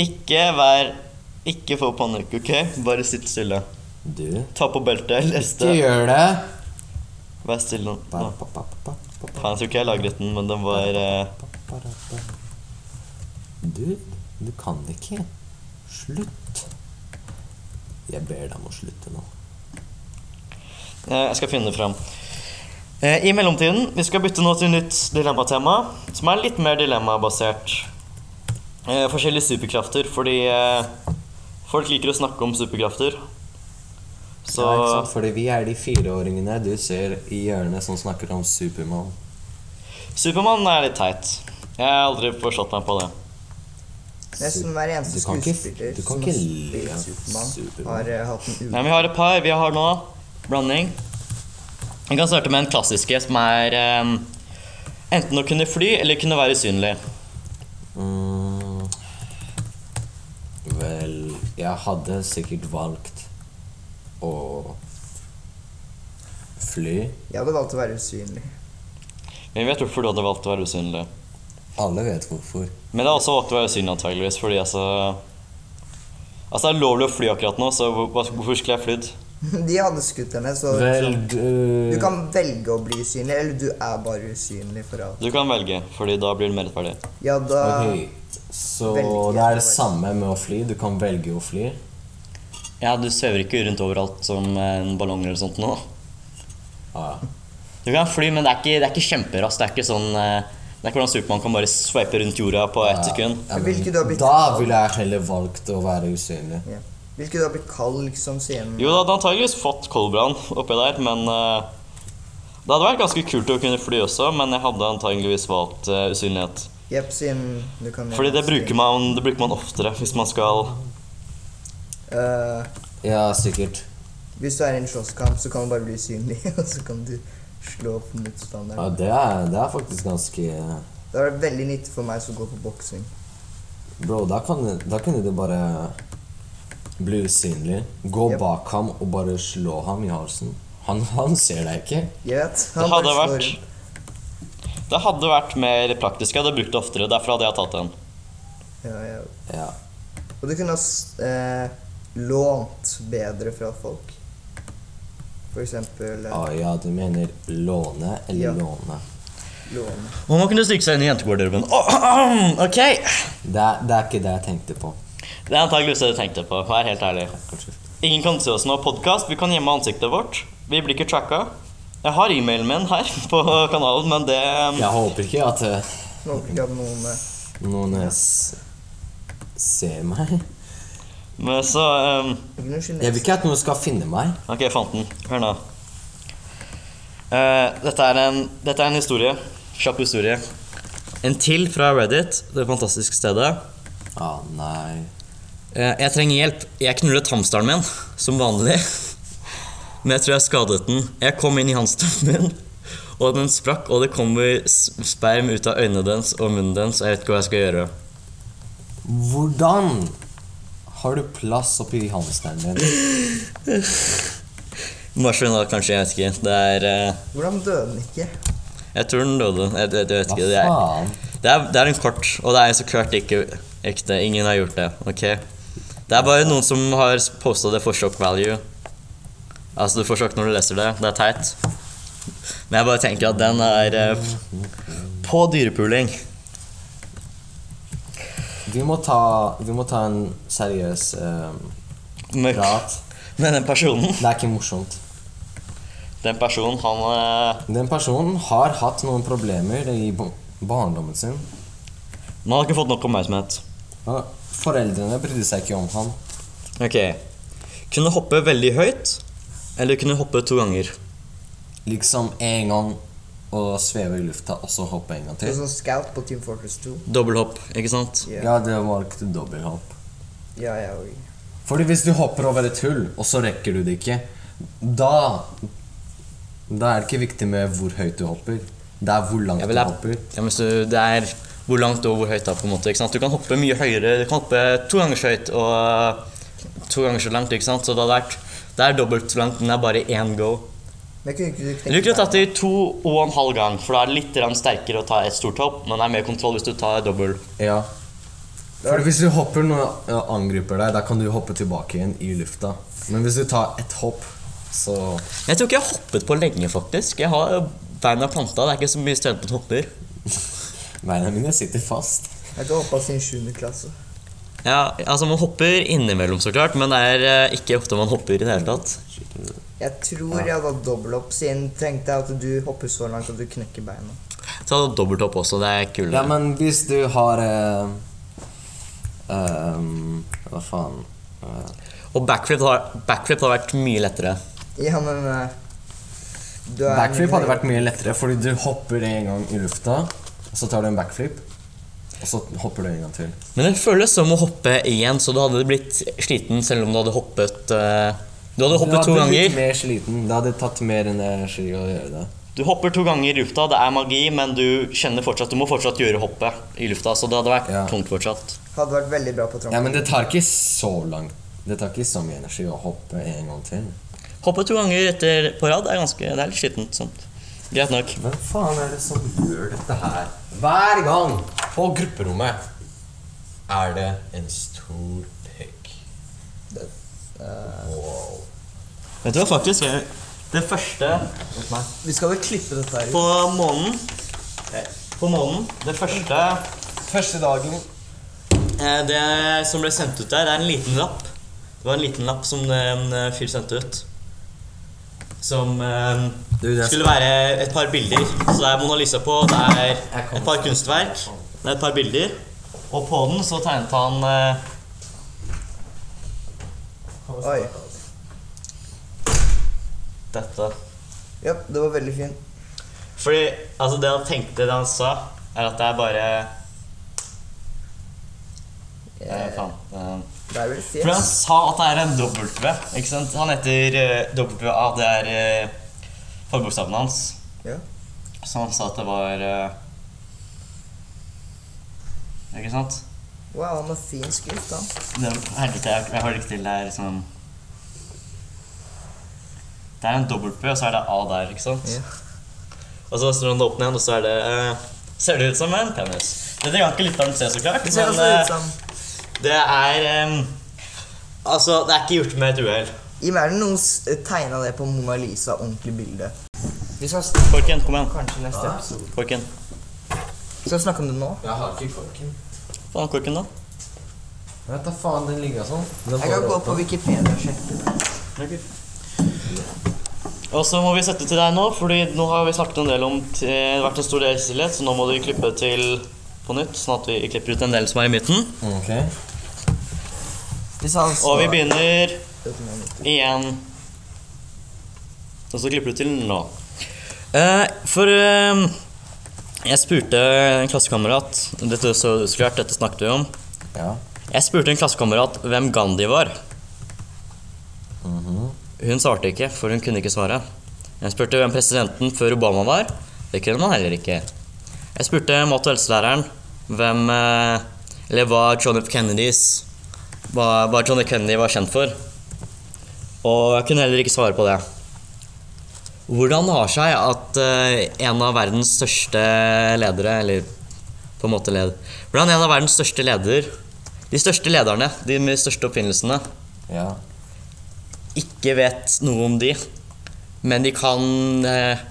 Speaker 1: Ikke vær Ikke få panikk, OK? Bare sitt stille.
Speaker 2: Du?
Speaker 1: Ta på beltet, les
Speaker 2: Du
Speaker 1: det.
Speaker 2: gjør det!
Speaker 1: Vær stille nå.
Speaker 2: Ba,
Speaker 1: Faen,
Speaker 2: ba, ba, ba, ba, ba,
Speaker 1: jeg tror ikke jeg lagret den, men den var eh,
Speaker 2: ba, ba, ba, ba. Du, du kan det ikke. Slutt. Jeg ber deg om å slutte nå.
Speaker 1: Eh, Jeg skal finne det fram. Eh, I mellomtiden vi skal bytte nå til nytt dilemmatema, som er litt mer dilemmabasert. Eh, Forskjellige superkrafter, fordi eh, folk liker å snakke om superkrafter. Så
Speaker 2: Ja, ikke sant? Fordi vi er de fireåringene du ser i hjørnet som snakker om Supermann.
Speaker 1: Supermann er litt teit. Jeg har aldri forstått meg på det.
Speaker 3: Nesten hver eneste
Speaker 2: Du kan ikke-
Speaker 3: skuespiller
Speaker 2: du kan
Speaker 3: som
Speaker 2: ikke
Speaker 3: har spilt
Speaker 2: le av
Speaker 3: Supermann,
Speaker 2: Superman.
Speaker 3: har eh, hatt
Speaker 1: Nei,
Speaker 3: en ulykke.
Speaker 1: men vi har et par. Vi har nå blanding. Vi kan starte med den klassiske, som er eh, enten å kunne fly eller kunne være usynlig.
Speaker 2: Mm. Vel Jeg hadde sikkert valgt å fly.
Speaker 3: Jeg hadde valgt å være usynlig.
Speaker 1: Men vi vet hvorfor du hadde valgt å være usynlig.
Speaker 2: Alle vet hvorfor.
Speaker 1: Men det er også valgt å være usynlig, antageligvis, fordi altså Altså, det er ulovlig å fly akkurat nå, så hvor- hvorfor skulle jeg flydd?
Speaker 3: De hadde skutt henne, så
Speaker 2: Vel
Speaker 3: du
Speaker 2: du-
Speaker 3: kan velge å bli usynlig, eller du er bare usynlig for alt.
Speaker 1: Du kan velge, fordi da blir det mer rettferdig.
Speaker 3: Ja, da
Speaker 2: Ok, Så
Speaker 3: Veldig
Speaker 2: det er det
Speaker 3: greit.
Speaker 2: samme med å fly. Du kan velge å fly.
Speaker 1: Ja, du svever ikke rundt overalt som en ballong eller sånt nå.
Speaker 2: Ah, ja.
Speaker 1: Du kan fly, men det er ikke, det er ikke kjemperaskt. Det er ikke sånn eh, Det er ikke hvordan Supermann kan bare sveipe rundt jorda på ett sekund.
Speaker 2: Ja, men
Speaker 3: Hvilket du har blitt-
Speaker 2: da ville jeg heller valgt å være usynlig.
Speaker 3: ja. Hvilket da blir kald, liksom, siden
Speaker 1: Jo, det hadde antageligvis fått koldbrann oppi der, men eh, Det hadde vært ganske kult å kunne fly også, men jeg hadde antageligvis valgt eh, usynlighet.
Speaker 3: Jepp, siden du kan
Speaker 1: Fordi det bruker, man, det bruker man oftere hvis man skal
Speaker 3: Eh,
Speaker 2: Ja, sikkert.
Speaker 3: Hvis du er i en slåsskamp, så kan du bare bli usynlig, og så kan du slå opp motstanderen.
Speaker 2: Ja, det, er, det er faktisk ganske
Speaker 3: Det var veldig nyttig for meg som går på boksing.
Speaker 2: Bro, da, kan, da kunne du bare bli usynlig. Gå
Speaker 3: Yep.
Speaker 2: bak ham og bare slå ham i halsen. Han, han ser deg ikke.
Speaker 3: Jeg vet.
Speaker 1: Det
Speaker 3: bare
Speaker 1: hadde
Speaker 3: slår
Speaker 1: vært
Speaker 3: inn.
Speaker 1: Det hadde vært mer praktisk. Jeg hadde brukt det oftere. Derfor hadde jeg tatt den.
Speaker 3: Ja, ja.
Speaker 2: Ja.
Speaker 3: Og du kunne ha s- eh, lånt bedre fra folk. For eksempel eh,
Speaker 2: Ah, ja, du mener låne eller
Speaker 3: Ja.
Speaker 2: låne.
Speaker 3: låne.
Speaker 1: Og man kunne stryke seg inn i jentegarderoben. ok!
Speaker 2: Det er, det er ikke det jeg tenkte på.
Speaker 1: Det er antageligvis det du tenkte på. Vær helt ærlig. Ingen kan se oss nå. Podkast. Vi kan gjemme ansiktet vårt. Vi blir ikke tracka. Jeg har e-mailen min her på kanalen, men det
Speaker 2: Jeg håper ikke at eh,
Speaker 3: Nå håper ikke at noen eh,
Speaker 2: noen eh, s ser meg.
Speaker 1: men Så ehm,
Speaker 3: Det blir noen
Speaker 2: Jeg vil
Speaker 3: kinesere.
Speaker 2: ikke at noen skal finne meg.
Speaker 1: Ok, jeg fant den. Hør nå. Eh, dette, er en, dette er en historie. Kjapp historie. En til fra Reddit, det fantastiske stedet.
Speaker 2: Ah, nei.
Speaker 1: Eh, jeg trenger hjelp. Jeg knullet hamsteren min, som vanlig. Men jeg tror jeg skadet den. Jeg kom inn i hamsteren min, og den sprakk, og det kommer s- sperm ut av øynene dens og munnen dens. Jeg vet ikke hva jeg skal gjøre.
Speaker 2: Hvordan har du plass oppi hamsteren din?
Speaker 1: Marsvin, da, kanskje. Jeg vet ikke. Det er eh,
Speaker 3: Hvordan døde den ikke?
Speaker 1: Jeg tror den døde. Jeg, jeg, jeg vet
Speaker 2: Hva
Speaker 1: ikke. Det er,
Speaker 2: faen?
Speaker 1: Det er, det er en kort, og det er så klart ikke ekte. Ingen har gjort det. ok? Det er bare noen som har posta det for shock value. Altså, du får sjokk når du leser det. Det er teit. Men jeg bare tenker at den er eh, på dyrepuling.
Speaker 2: Vi må ta, vi må ta en seriøs eh,
Speaker 1: Men,
Speaker 2: prat.
Speaker 1: men den personen
Speaker 2: Det er ikke morsomt.
Speaker 1: Den personen, han eh,
Speaker 2: Den personen har hatt noen problemer i bo- barndommen sin.
Speaker 1: Man har ikke fått nok oppmerksomhet.
Speaker 2: Og foreldrene brydde seg ikke om han.
Speaker 1: Ok. Kunne hoppe veldig høyt, eller kunne hoppe to ganger.
Speaker 2: Liksom en gang og sveve i lufta, og så hoppe en gang
Speaker 3: Det
Speaker 2: til.
Speaker 3: var sånn scout på Team Fortress 2.
Speaker 1: Dobbelthopp, ikke sant?
Speaker 3: Ja,
Speaker 2: Ja, det var ikke dobbelthopp.
Speaker 3: ja, ja og
Speaker 2: Fordi hvis du hopper over et hull, og så rekker du det ikke, da Da er det ikke viktig med hvor høyt du hopper. Det er hvor langt
Speaker 1: Ja,
Speaker 2: du
Speaker 1: vel, det er-
Speaker 2: hopper.
Speaker 1: Ja, men så det er hvor langt og hvor høyt det er, på en måte. ikke sant? Du kan hoppe mye høyere. Du kan hoppe to ganger så høyt og eh, to ganger så langt. ikke sant? Så det hadde vært, det er dobbelt så langt, men det er bare én go.
Speaker 3: Men kunne ikke du
Speaker 1: Du
Speaker 3: tenke
Speaker 1: kunne tatt
Speaker 3: deg
Speaker 1: det i to og en halv gang, for da er det litt grann sterkere å ta et stort hopp, men det er mer kontroll hvis du tar dobbel.
Speaker 2: Ja. For hvis du hopper når jeg angriper deg, da kan du hoppe tilbake igjen i lufta. Men hvis du tar et hopp, så
Speaker 1: Jeg tror ikke jeg har hoppet på lenge, faktisk. Jeg har beina planta. Det er ikke så mye studenter som hopper.
Speaker 2: Beina mine sitter fast.
Speaker 3: Jeg har ikke hoppa siden 7. klasse.
Speaker 1: Ja, altså Man hopper innimellom, så klart, men det er eh, ikke ofte man hopper i det hele tatt.
Speaker 3: Jeg tror jeg var dobbelthopp, siden tenkte jeg at du hopper så langt at du knekker beina.
Speaker 1: Ta dobbelthopp også, det er kulere.
Speaker 2: Ja, men hvis du har eh, ehm, Hva faen eh,
Speaker 1: Og backflip har, backflip har vært mye lettere.
Speaker 3: Ja, men eh, du er
Speaker 2: Backflip hadde vært mye lettere, fordi du hopper en gang i lufta, og så tar du en backflip, og så hopper du en gang til.
Speaker 1: Men det føles som å hoppe igjen, så du hadde blitt sliten selv om du hadde hoppet eh, Du hadde hoppet to
Speaker 2: Du hadde blitt
Speaker 1: ganger.
Speaker 2: mer sliten. Det hadde tatt mer energi å gjøre det.
Speaker 1: Du hopper to ganger i lufta, det er magi, men du kjenner fortsatt Du må fortsatt gjøre hoppet i lufta, så det hadde vært
Speaker 2: Ja.
Speaker 1: tungt fortsatt.
Speaker 3: Hadde vært veldig bra på
Speaker 2: Ja,
Speaker 3: tramp.
Speaker 2: men det tar ikke så langt. Det tar ikke så mye energi å hoppe en gang til.
Speaker 1: Hoppe to ganger etter på rad er ganske Det er litt skittent. Sånt. Greit nok.
Speaker 2: Hvem faen er det som gjør dette her? Hver gang på grupperommet er det en stor pikk. Wow.
Speaker 1: Vet du hva, faktisk? jeg- Det første
Speaker 3: Vi skal vel klippe dette her ut.
Speaker 1: på månen På månen, det første
Speaker 2: Første dagen
Speaker 1: Eh, Det som ble sendt ut der, er en liten lapp. Det var en liten lapp som en eh, fyr sendte ut. Som eh,
Speaker 2: Du, det er-
Speaker 1: skulle være et par bilder. Så det er Mona Lisa på, det er et par kunstverk, det er et par bilder. Og på den så tegnet han eh,
Speaker 3: Oi.
Speaker 1: dette.
Speaker 3: Ja, det var veldig fint.
Speaker 1: Fordi altså, det han tenkte, det han sa, er at det er bare eh, Faen. eh,
Speaker 3: Det er vel
Speaker 1: For han
Speaker 3: fint.
Speaker 1: sa at det er en W, ikke sant? Han heter eh, WA, det er uh, forbokstaven hans.
Speaker 3: Ja.
Speaker 1: Så han sa at det var eh, Ikke sant?
Speaker 3: Wow, han har fin skrift, han.
Speaker 1: Det er- Helvete, jeg, jeg har det ikke til. Det er liksom Det er en W, og så er det A der, ikke sant?
Speaker 3: Ja.
Speaker 1: Og så slår han det opp ned, og så er det eh, Ser det ut som en penis? Dette kan ikke lytteren se, så klart.
Speaker 3: Det ser altså
Speaker 1: eh,
Speaker 3: ut som
Speaker 1: det er eh, Altså, det er ikke gjort med et uhell.
Speaker 3: I verden noen s- eh, tegna det på Mona Lisa, ordentlig bilde. Vi skal s-
Speaker 1: Korken, kom igjen.
Speaker 3: kanskje neste episode.
Speaker 1: Korken.
Speaker 3: Skal vi snakke om det nå?
Speaker 2: Jeg har ikke korken.
Speaker 1: Faen, korken, da?
Speaker 2: Vet da faen, den ligger sånn. Den
Speaker 3: Jeg kan gå på Wikipedia og sjekke.
Speaker 1: Og så må vi sette til deg nå, fordi nå har vi snakket en del om t- Det har vært en stor del stillhet, så nå må du klippe til på nytt, sånn at vi klipper ut en del som er i midten.
Speaker 2: Ok.
Speaker 3: Hvis han
Speaker 1: Og vi
Speaker 3: står-
Speaker 1: begynner igjen. Og så klipper du til nå. Eh, for eh, jeg spurte en klassekamerat Dette så du så klart, dette snakket vi om.
Speaker 2: Ja.
Speaker 1: Jeg spurte en klassekamerat hvem Gandhi var. Hun svarte ikke, for hun kunne ikke svare. Jeg spurte hvem presidenten før Obama var. Det kunne man heller ikke. Jeg spurte mat- og helselæreren hvem eh, Eller hva John F. Kennedys hva, hva John F. Kennedy var kjent for. Og jeg kunne heller ikke svare på det. Hvordan det har seg at eh, en av verdens største ledere, eller på en måte led... Hvordan en av verdens største leder de største lederne, de med de største oppfinnelsene,
Speaker 2: Ja.
Speaker 1: ikke vet noe om de, men de kan eh,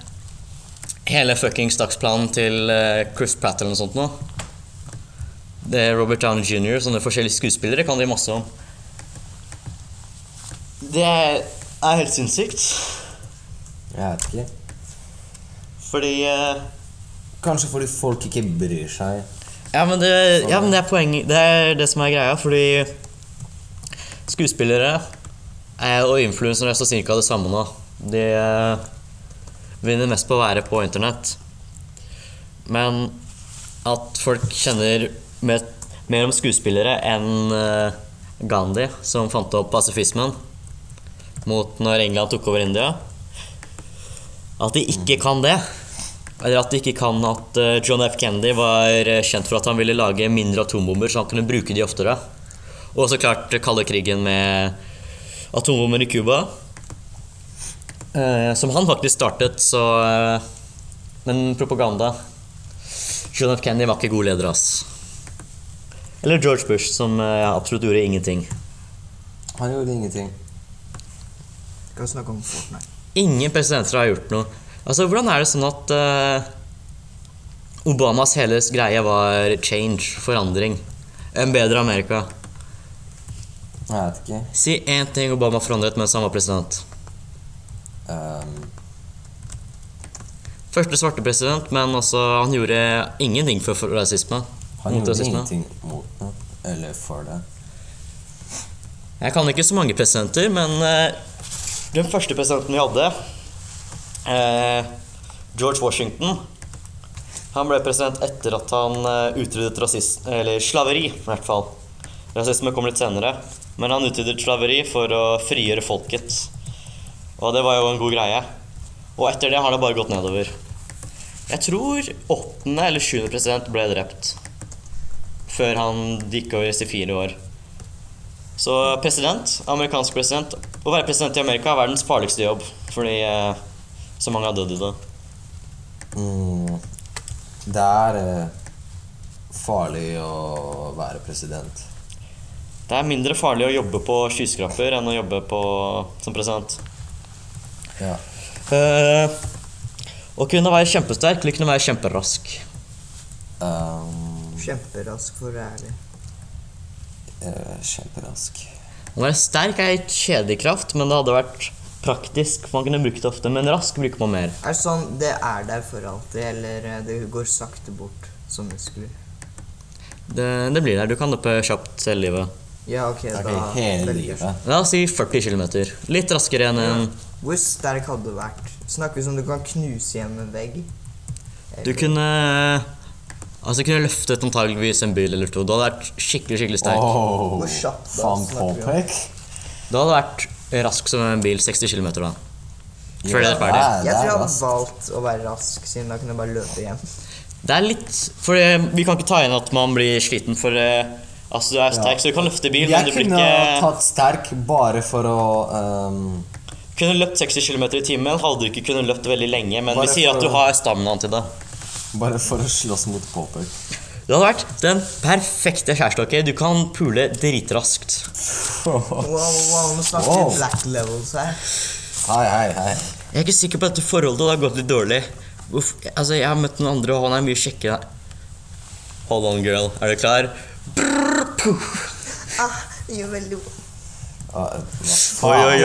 Speaker 1: hele fuckings dagsplanen til eh, Chris Pratt eller noe sånt nå. Det er Robert Downey jr., sånne forskjellige skuespillere kan de masse om. Det er helt sinnssykt,
Speaker 2: Jeg vet ikke.
Speaker 1: fordi eh,
Speaker 2: Kanskje fordi folk ikke bryr seg.
Speaker 1: Ja, men det, ja, men det er poenget. Det er det som er greia, fordi skuespillere eh, og influensere står cirka det samme nå. De eh, vinner mest på å være på internett. Men at folk kjenner mer, mer om skuespillere enn eh, Gandhi, som fant opp pasifismen mot når England tok over India At de ikke kan det. Eller at de ikke kan at eh, John F. Kennedy var eh, kjent for at han ville lage mindre atombomber, så han kunne bruke de oftere. Og så klart eh, kalde krigen med atombomber i Cuba. eh, som han faktisk startet, så eh, Men propaganda John F. Kennedy var ikke god leder, ass. Eller George Bush, som eh, absolutt gjorde ingenting.
Speaker 2: Han gjorde ingenting.
Speaker 3: Skal vi snakke om Fortnite?
Speaker 1: Ingen presidenter har gjort noe. Altså, Hvordan er det sånn at eh, Obamas hele greie var change, forandring? En bedre Amerika.
Speaker 2: Jeg vet ikke.
Speaker 1: Si én ting Obama forandret mens han var president.
Speaker 2: ehm,
Speaker 1: Første svarte president, men altså, han gjorde ingenting for for rasisme.
Speaker 2: Han
Speaker 1: Mot
Speaker 2: gjorde
Speaker 1: rasisme.
Speaker 2: ingenting mot det, eller for det.
Speaker 1: Jeg kan ikke så mange presidenter, men eh, den første presidenten vi hadde, eh, George Washington Han ble president etter at han eh, utryddet rasisme Eller slaveri, i hvert fall. Rasisme kom litt senere. Men han utryddet slaveri for å frigjøre folket. Og det var jo en god greie. Og etter det har det bare gått nedover. Jeg tror åttende eller sjuende president ble drept. Før han gikk over i fire år. Så president, amerikansk president Å være president i Amerika er verdens farligste jobb. Fordi eh, så mange har dødd i det.
Speaker 2: Mm, det er eh, farlig å være president.
Speaker 1: Det er mindre farlig å jobbe på skyskraper enn å jobbe på, som president.
Speaker 2: Ja.
Speaker 1: Eh, å kunne være kjempesterk eller kunne være kjemperask.
Speaker 2: Um,
Speaker 3: Kjemperask, for å være ærlig.
Speaker 2: eh, kjemperask.
Speaker 1: Å være sterk er kjedelig kraft, men det hadde vært praktisk. Man kunne brukt det ofte, men rask bruker man mer.
Speaker 3: Er det sånn det er der for alltid, eller eh, det går sakte bort som muskler?
Speaker 1: Det, det blir der. Du kan løpe kjapt hele livet.
Speaker 3: Ja, ok,
Speaker 2: Ok,
Speaker 3: da
Speaker 2: hele
Speaker 3: velger jeg.
Speaker 2: livet.
Speaker 1: La oss si 40 km. Litt raskere enn en
Speaker 3: Hvor sterk hadde du vært? Snakker vi som du kan knuse igjen en vegg?
Speaker 1: Du kunne Altså kunne løftet antageligvis en bil eller to. Du hadde vært skikkelig skikkelig sterk.
Speaker 2: Oh,
Speaker 3: Hvor kjapt da
Speaker 2: faen
Speaker 3: snakker vi om?
Speaker 2: påpek.
Speaker 1: Du hadde vært rask som en bil 60 km da. Før det
Speaker 2: Ja,
Speaker 1: er ferdig.
Speaker 2: det er-
Speaker 3: Jeg
Speaker 2: det er
Speaker 3: tror jeg hadde
Speaker 2: raskt.
Speaker 3: valgt å være rask, siden da kunne jeg bare løpe igjen.
Speaker 1: Det er litt For eh, vi kan ikke ta inn at man blir sliten, for eh, altså du er sterk, så du kan løfte bil, men
Speaker 2: Jeg
Speaker 1: du blir
Speaker 2: kunne
Speaker 1: ikke
Speaker 2: tatt sterk bare for å ehm,
Speaker 1: Kunne løpt 60 km i timen, hadde du ikke kunnet løpt veldig lenge, men
Speaker 2: Bare
Speaker 1: vi sier
Speaker 2: for
Speaker 1: at du
Speaker 2: å-
Speaker 1: har staminaen til det.
Speaker 2: Bare for å slåss mot påpek.
Speaker 1: Du hadde vært den perfekte kjæreste, ok? Du kan pule dritraskt.
Speaker 3: Wow, wow, nå snakker
Speaker 2: Wow.
Speaker 3: vi black levels her.
Speaker 2: Hei, hei, hei.
Speaker 1: Jeg er ikke sikker på at dette forholdet det har gått litt dårlig. Uff, altså, jeg har møtt noen andre, og han er mye kjekkere. Hold on, girl. Er du klar? Brrr, puh.
Speaker 3: Ah, det gjør veldig vondt.
Speaker 2: Ah, hva
Speaker 1: Oi,
Speaker 2: faen?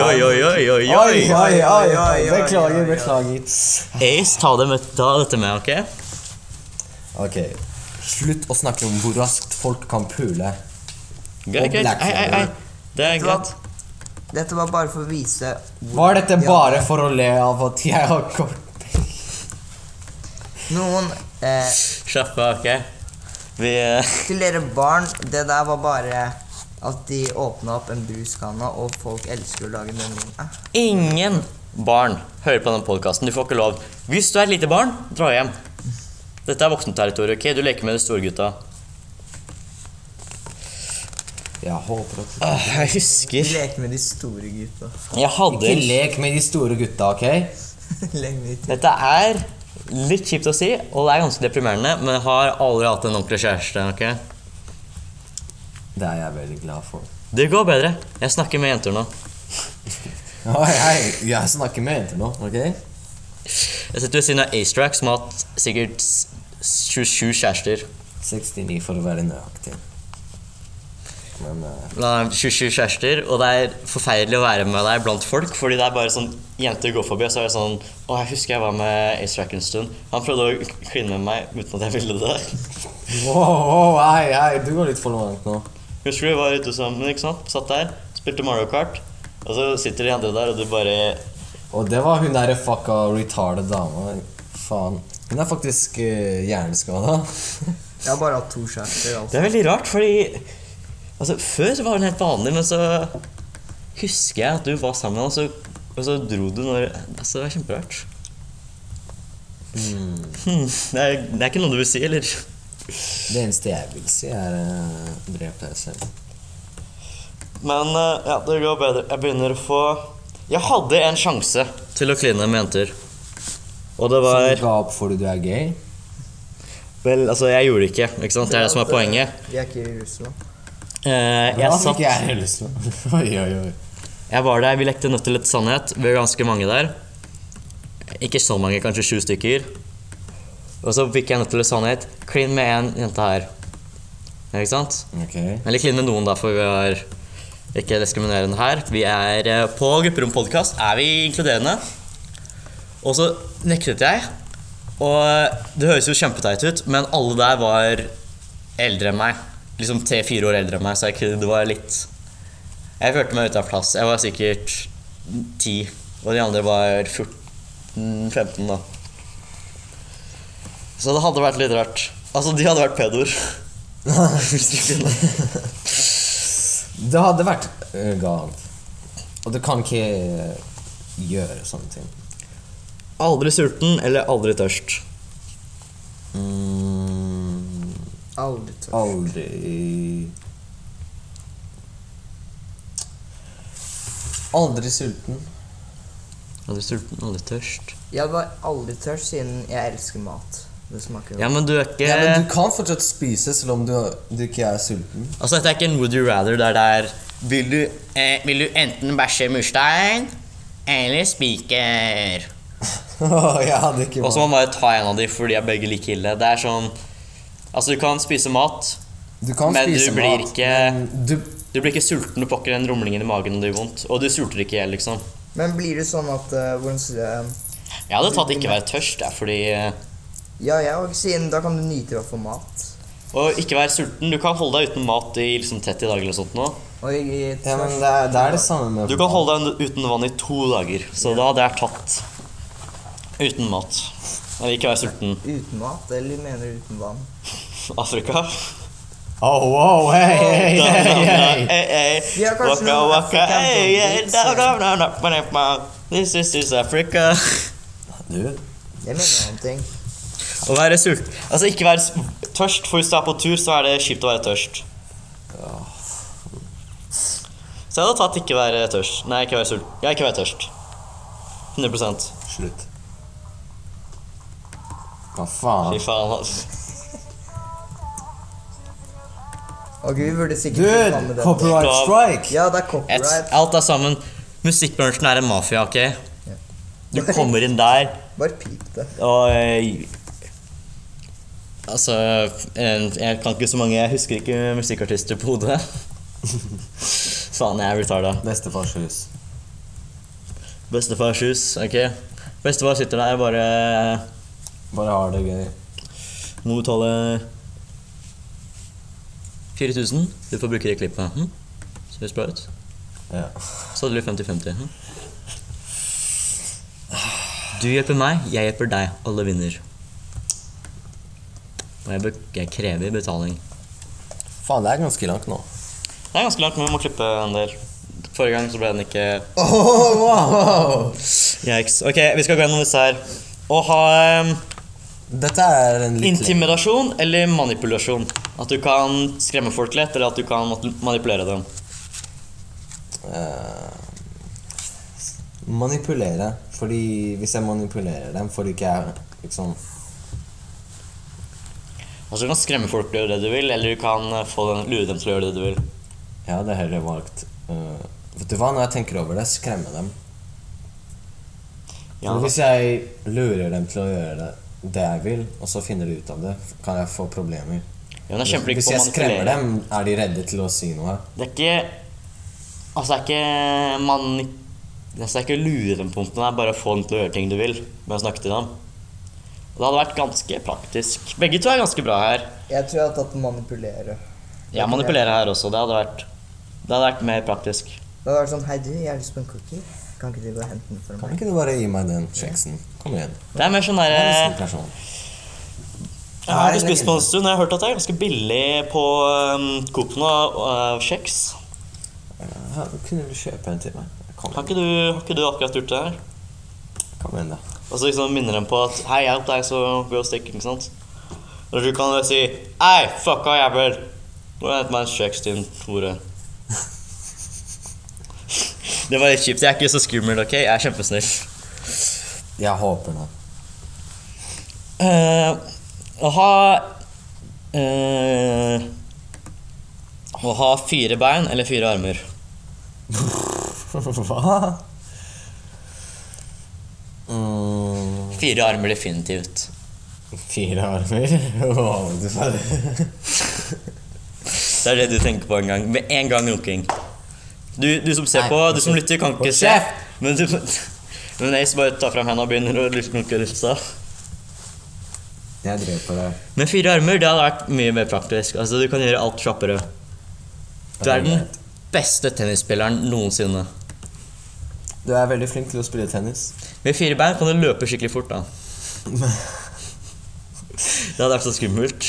Speaker 1: oi, oi, oi, oi, oi, oi.
Speaker 2: Oi, oi, oi, oi.
Speaker 3: oi,
Speaker 2: Beklager,
Speaker 3: oi, oi.
Speaker 2: beklager.
Speaker 1: Ace, ta, det med, ta dette med, ok?
Speaker 2: Ok, slutt å snakke om hvor raskt folk kan pule.
Speaker 1: Greit, greit. Ei, ei, ei. Det er
Speaker 3: Vet du hva?
Speaker 1: greit.
Speaker 3: Dette var bare for å vise hvor-
Speaker 2: Var dette
Speaker 3: Ja.
Speaker 2: bare for å le av at jeg har kort
Speaker 3: Noen eh,
Speaker 1: Slapp av, ok? Vi eh,
Speaker 3: Til dere barn, det der var bare at de åpna opp en bruskanne, og folk elsker å lage memoen. Eh,
Speaker 1: Ingen barn hører på denne podkasten. Du får ikke lov. Hvis du er et lite barn, dra hjem. Dette er voksenterritoriet, ok? Du leker med de store gutta.
Speaker 2: Jeg håper at
Speaker 1: Ah, Jeg
Speaker 3: Vi
Speaker 1: husker
Speaker 3: leker med de store gutta.
Speaker 1: Jeg hadde
Speaker 2: Ikke lek med de store gutta, ok?
Speaker 3: Leker med de ti-
Speaker 1: Dette er litt kjipt å si, og det er ganske deprimerende, men jeg har aldri hatt en ordentlig kjæreste. ok?
Speaker 2: Det er jeg veldig glad for.
Speaker 1: Det går bedre. Jeg snakker med jenter nå.
Speaker 2: Oi, hei, jeg snakker med jenter nå, ok?
Speaker 1: Jeg sitter ved siden av Astrack, som har hatt sikkert s- 27 kjærester.
Speaker 2: 69 for å være nøyaktig. Men eh,
Speaker 1: Nei, 27 kjærester, og det er forferdelig å være med deg blant folk, fordi det er bare sånn jenter går forbi, og så er det sånn Å, jeg husker jeg var med Astrack en stund. Han prøvde å k- kline med meg uten at jeg ville det.
Speaker 2: Wow, wow, hei, hei, du går litt for langt nå.
Speaker 1: Husker vi var ute sammen, ikke sant? Satt der, spilte Mario Kart, og så sitter de andre der, og du bare
Speaker 2: Og det var hun derre fucka retarded dama. Faen. Hun er faktisk eh, hjerneskada.
Speaker 3: Jeg har bare hatt to kjærester.
Speaker 1: Det
Speaker 3: Altså.
Speaker 1: er veldig rart, fordi altså, Før så var hun helt vanlig, men så husker jeg at du var sammen med henne, og, så- og så dro du når altså, Det var kjemperart. Hmm, det, er, det er ikke noe du vil si, eller?
Speaker 2: Det eneste jeg vil si, er uh, drep deg selv.
Speaker 1: Men eh, ja, det går bedre. Jeg begynner å få Jeg hadde en sjanse til å kline med jenter. Og det
Speaker 2: Så
Speaker 1: var
Speaker 2: du ga opp fordi du er gay?
Speaker 1: Vel, altså, jeg gjorde det ikke, ikke sant? Det er det som er poenget.
Speaker 3: Vi er ikke i Russland.
Speaker 1: Eh,
Speaker 2: Da
Speaker 1: jeg
Speaker 2: fikk
Speaker 1: satt
Speaker 2: jeg heller lyst til å- Oi, oi, oi.
Speaker 1: Jeg var der, vi lekte nødt til et sannhet. Vi var ganske mange der. Ikke så mange, kanskje sju stykker. Og så fikk jeg nødt til et sannhet. Klin med en jente her. Ikke sant?
Speaker 2: Ok.
Speaker 1: Eller klin med noen, da, for vi er ikke diskriminerende her. Vi er eh, På Grupperom podkast er vi inkluderende. Og så nektet jeg. Og eh, det høres jo kjempeteit ut, men alle der var eldre enn meg. Liksom tre-fire år eldre enn meg, så jeg kunne, det var litt Jeg følte meg ute av plass. Jeg var sikkert ti, og de andre var 14-15, da. Så det hadde vært litt rart. Altså, de hadde vært pedoer. Hvis vi kunne.
Speaker 2: Det hadde vært eh, galt. Og du kan ikke eh, gjøre sånne ting.
Speaker 1: Aldri sulten eller aldri tørst.
Speaker 2: Mm,
Speaker 3: Aldri tørst.
Speaker 2: aldri Aldri sulten.
Speaker 1: Aldri sulten, aldri tørst.
Speaker 3: Jeg var aldri tørst siden jeg elsker mat. Det smaker jo
Speaker 1: Ja, men du er ikke
Speaker 2: Ja, men du kan fortsatt spise selv om du, du ikke er sulten.
Speaker 1: Altså, dette er ikke en would you rather der det er Vil du, eh, vil du enten bæsje i murstein eller spiker?
Speaker 2: jeg hadde ikke
Speaker 1: Og så må man bare ta en av de, for de er begge like ille. Det er sånn Altså, du kan spise mat.
Speaker 2: Du kan
Speaker 1: men du
Speaker 2: spise
Speaker 1: blir
Speaker 2: mat,
Speaker 1: ikke-
Speaker 2: men du,
Speaker 1: Du blir ikke sulten, du får ikke den rumlingen i magen, og det gjør vondt. Og du sulter ikke i hjel, liksom.
Speaker 3: Men blir det sånn at eh, Hvordan sier jeg
Speaker 1: Jeg hadde tatt ikke være tørst, jeg, fordi eh,
Speaker 3: Ja, jeg òg, siden da kan du nyte i hvert fall mat.
Speaker 1: Og ikke være sulten. Du kan holde deg uten mat i liksom 30 dager eller sånt nå.
Speaker 3: Og jeg,
Speaker 2: ja, men det, er, det er det samme med
Speaker 1: Du kan holde deg uten vann i to dager, så da hadde jeg tatt uten mat. Eller ikke være sulten.
Speaker 3: Uten mat, eller mener du uten vann?
Speaker 1: Afrika.
Speaker 2: Oh, wow, hey, hey,
Speaker 1: Da, da,
Speaker 2: hey,
Speaker 1: da,
Speaker 2: hey.
Speaker 1: eh, eh.
Speaker 3: Vi har
Speaker 1: Waka,
Speaker 3: kanskje noen
Speaker 1: waka,
Speaker 3: African
Speaker 1: eh, eh,
Speaker 3: zombies.
Speaker 1: da, da, da, da, ba, da, ba. This is, is Africa.
Speaker 2: Du,
Speaker 3: Jeg mener noen ting.
Speaker 1: Å være sulten Altså, ikke være s- tørst, for hvis du er på tur, så er det kjipt å være tørst. Så jeg hadde tatt ikke være tørst. Nei, ikke være sulten. Ja, ikke være tørst. 100
Speaker 2: slutt. Hva faen?
Speaker 1: Fy faen, altså.
Speaker 3: Ok, vi burde sikkert ta med
Speaker 2: Dude,
Speaker 3: den.
Speaker 2: copyright
Speaker 1: Slav.
Speaker 2: strike!
Speaker 3: Ja, det er
Speaker 1: Et,
Speaker 3: copyright.
Speaker 1: alt er sammen. Musikkbransjen er en mafia, OK? Du kommer inn der
Speaker 3: Bare pip det.
Speaker 1: og eh, Altså eh, Jeg kan ikke så mange Jeg husker ikke musikkartister på hodet. Faen, jeg er retarda.
Speaker 2: Bestefars hus.
Speaker 1: Bestefars hus, OK? Bestefar sitter der og bare eh,
Speaker 2: Bare har det gøy.
Speaker 1: må betale 4000. Du får bruke det klippet. Hm? Ser bra ut.
Speaker 2: Ja.
Speaker 1: Så hadde du 50-50. hm? Du hjelper meg, jeg hjelper deg. Alle vinner. Og jeg, be- jeg krever betaling.
Speaker 2: Faen, det er ganske langt nå.
Speaker 1: Det er ganske langt, men vi må klippe en del. Forrige gang så ble den ikke
Speaker 2: Oh, wow!
Speaker 1: Yikes. Ok, vi skal gå gjennom disse her. Å ha em,
Speaker 2: Dette er en litt lengre.
Speaker 1: intimidasjon eller manipulasjon. At du kan skremme folk lett, eller at du kan mat- manipulere dem.
Speaker 2: Eh, manipulere. Fordi hvis jeg manipulerer dem, får de ikke jeg liksom
Speaker 1: Altså Du kan skremme folk til å gjøre det du vil, eller du kan eh, få dem, lure dem til å gjøre det du vil.
Speaker 2: Jeg hadde heller valgt eh, Vet du hva, når jeg tenker over det, skremme dem.
Speaker 1: Ja,
Speaker 2: For Hvis jeg lurer dem til å gjøre det, det jeg vil, og så finner de ut av det, kan jeg få problemer.
Speaker 1: men jeg kjemper ikke
Speaker 2: Hvis
Speaker 1: på å
Speaker 2: jeg skremmer
Speaker 1: manipulere.
Speaker 2: dem, er de redde til å si noe.
Speaker 1: Det er ikke Altså, det er ikke man... Altså, det er ikke å lure dem på noe, det er bare å få dem til å gjøre ting du vil med å snakke til dem. Og det hadde vært ganske praktisk. Begge to er ganske bra her.
Speaker 3: Jeg tror jeg har tatt manipulere.
Speaker 1: Jeg manipulerer her også. Det hadde vært Det hadde vært mer praktisk.
Speaker 3: Det hadde vært sånn Hei, du, jeg har lyst på en cookie. Kan ikke du gå og hente den for
Speaker 2: Kan
Speaker 3: meg?
Speaker 2: ikke du bare gi meg den kjeksen? Kom igjen.
Speaker 1: Det er mer sånn
Speaker 2: Jeg er en snill
Speaker 1: derre
Speaker 2: person.
Speaker 1: Jeg har ikke spist på en stund, og jeg har hørt at det er ganske billig på um, Coop nå, øh, kjeks. Eh.
Speaker 2: Ja, Eh, Kunne du kjøpe en til meg? Kom
Speaker 1: Har
Speaker 2: igjen,
Speaker 1: ikke du, har ikke du akkurat gjort det her?
Speaker 2: kom igjen da.
Speaker 1: Og så liksom minner dem på at Hei, hjelp deg, så blir det stikke, ikke sant? Eller du kan jo si Hei, fucka jævel! Nå hent meg en kjeks til Tore. Det var litt kjipt. Jeg er ikke så skummel, OK? Jeg er kjempesnill.
Speaker 2: Jeg håper det.
Speaker 1: Eh, å ha eh, Å ha fire bein eller fire armer.
Speaker 2: Hva? Mm,
Speaker 1: Fire armer definitivt.
Speaker 2: fire armer? Wow, du bare
Speaker 1: Det er det du tenker på en gang. Med en gang runking. Du, du som ser
Speaker 2: Nei,
Speaker 1: på, du som lytter, kan
Speaker 2: hold
Speaker 1: ikke se.
Speaker 2: kjeft!
Speaker 1: Men du, Men Ace bare tar fram hendene og begynner å lukke lufta.
Speaker 2: Jeg dreper deg.
Speaker 1: Med fire armer det hadde vært mye mer praktisk. Altså, Du kan gjøre alt kjappere. Du er den beste tennisspilleren noensinne.
Speaker 2: Du er veldig flink til å spille tennis.
Speaker 1: Med fire bein kan du løpe skikkelig fort, da. Det hadde vært så skummelt.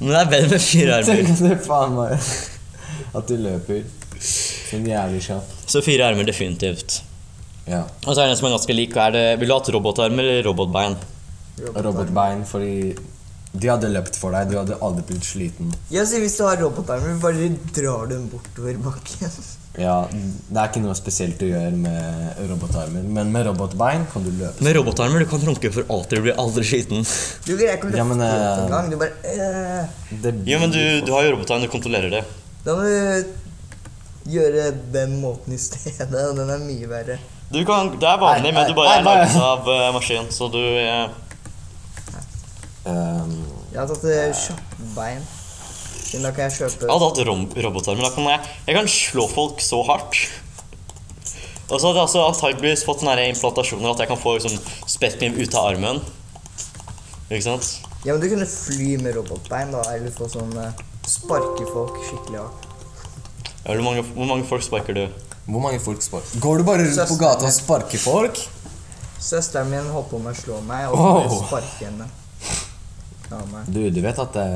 Speaker 1: Men det er bedre med fire armer.
Speaker 2: Tenk deg faen meg at du løper sånn jævlig kjapt.
Speaker 1: Så fire armer definitivt.
Speaker 2: Ja.
Speaker 1: Og så er det en som er ganske lik. Er det, vil du ha hatt robotarmer eller robotbein?
Speaker 2: Og Robotbein, fordi de hadde løpt for deg. Du hadde aldri blitt sliten.
Speaker 3: Jeg sier hvis du har robotarmer, bare drar du den bortover bakken.
Speaker 2: Ja, Det er ikke noe spesielt du gjør med robotarmer, men med robotbein kan du løpe.
Speaker 1: Med robotarmer du kan runke for alltid, du blir aldri sliten.
Speaker 3: Du greier ikke å løfte
Speaker 2: Ja, men,
Speaker 3: opp
Speaker 2: eh,
Speaker 3: engang. Du bare eh,
Speaker 2: Det blir
Speaker 1: Jo, men du, du har jo robotarm, du kontrollerer det.
Speaker 3: Da må du gjøre den måten i stedet, og den er mye verre.
Speaker 1: Du kan, det er vanlig,
Speaker 2: Nei,
Speaker 1: men du
Speaker 2: nei,
Speaker 1: bare er
Speaker 2: nei, nei.
Speaker 1: laget av eh, maskin, så du eh,
Speaker 2: Ehm,
Speaker 3: Jeg har tatt eh, kjappbein. Siden da kan jeg
Speaker 1: Jeg
Speaker 3: kjøpe
Speaker 1: hadde hatt rom, robotarmer. Da kan jeg, jeg kan slå folk så hardt. Og så hadde jeg også antageligvis fått sånne her implantasjoner at jeg kan få liksom, spektrum ut av armen. Ikke sant?
Speaker 3: Ja, men du kunne fly med robotbein, da, eller få sånn eh, Sparke folk skikkelig hardt.
Speaker 1: Ja, Hvor mange, hvor mange folk sparker du?
Speaker 2: Hvor mange folk sparker Går du bare rundt på
Speaker 3: Søsteren
Speaker 2: gata og
Speaker 3: min.
Speaker 2: sparker folk?
Speaker 3: Søsteren min holdt på med å slå meg, og
Speaker 2: Wow.
Speaker 3: bare sparke henne. Ja, meg.
Speaker 2: Du, du vet at det,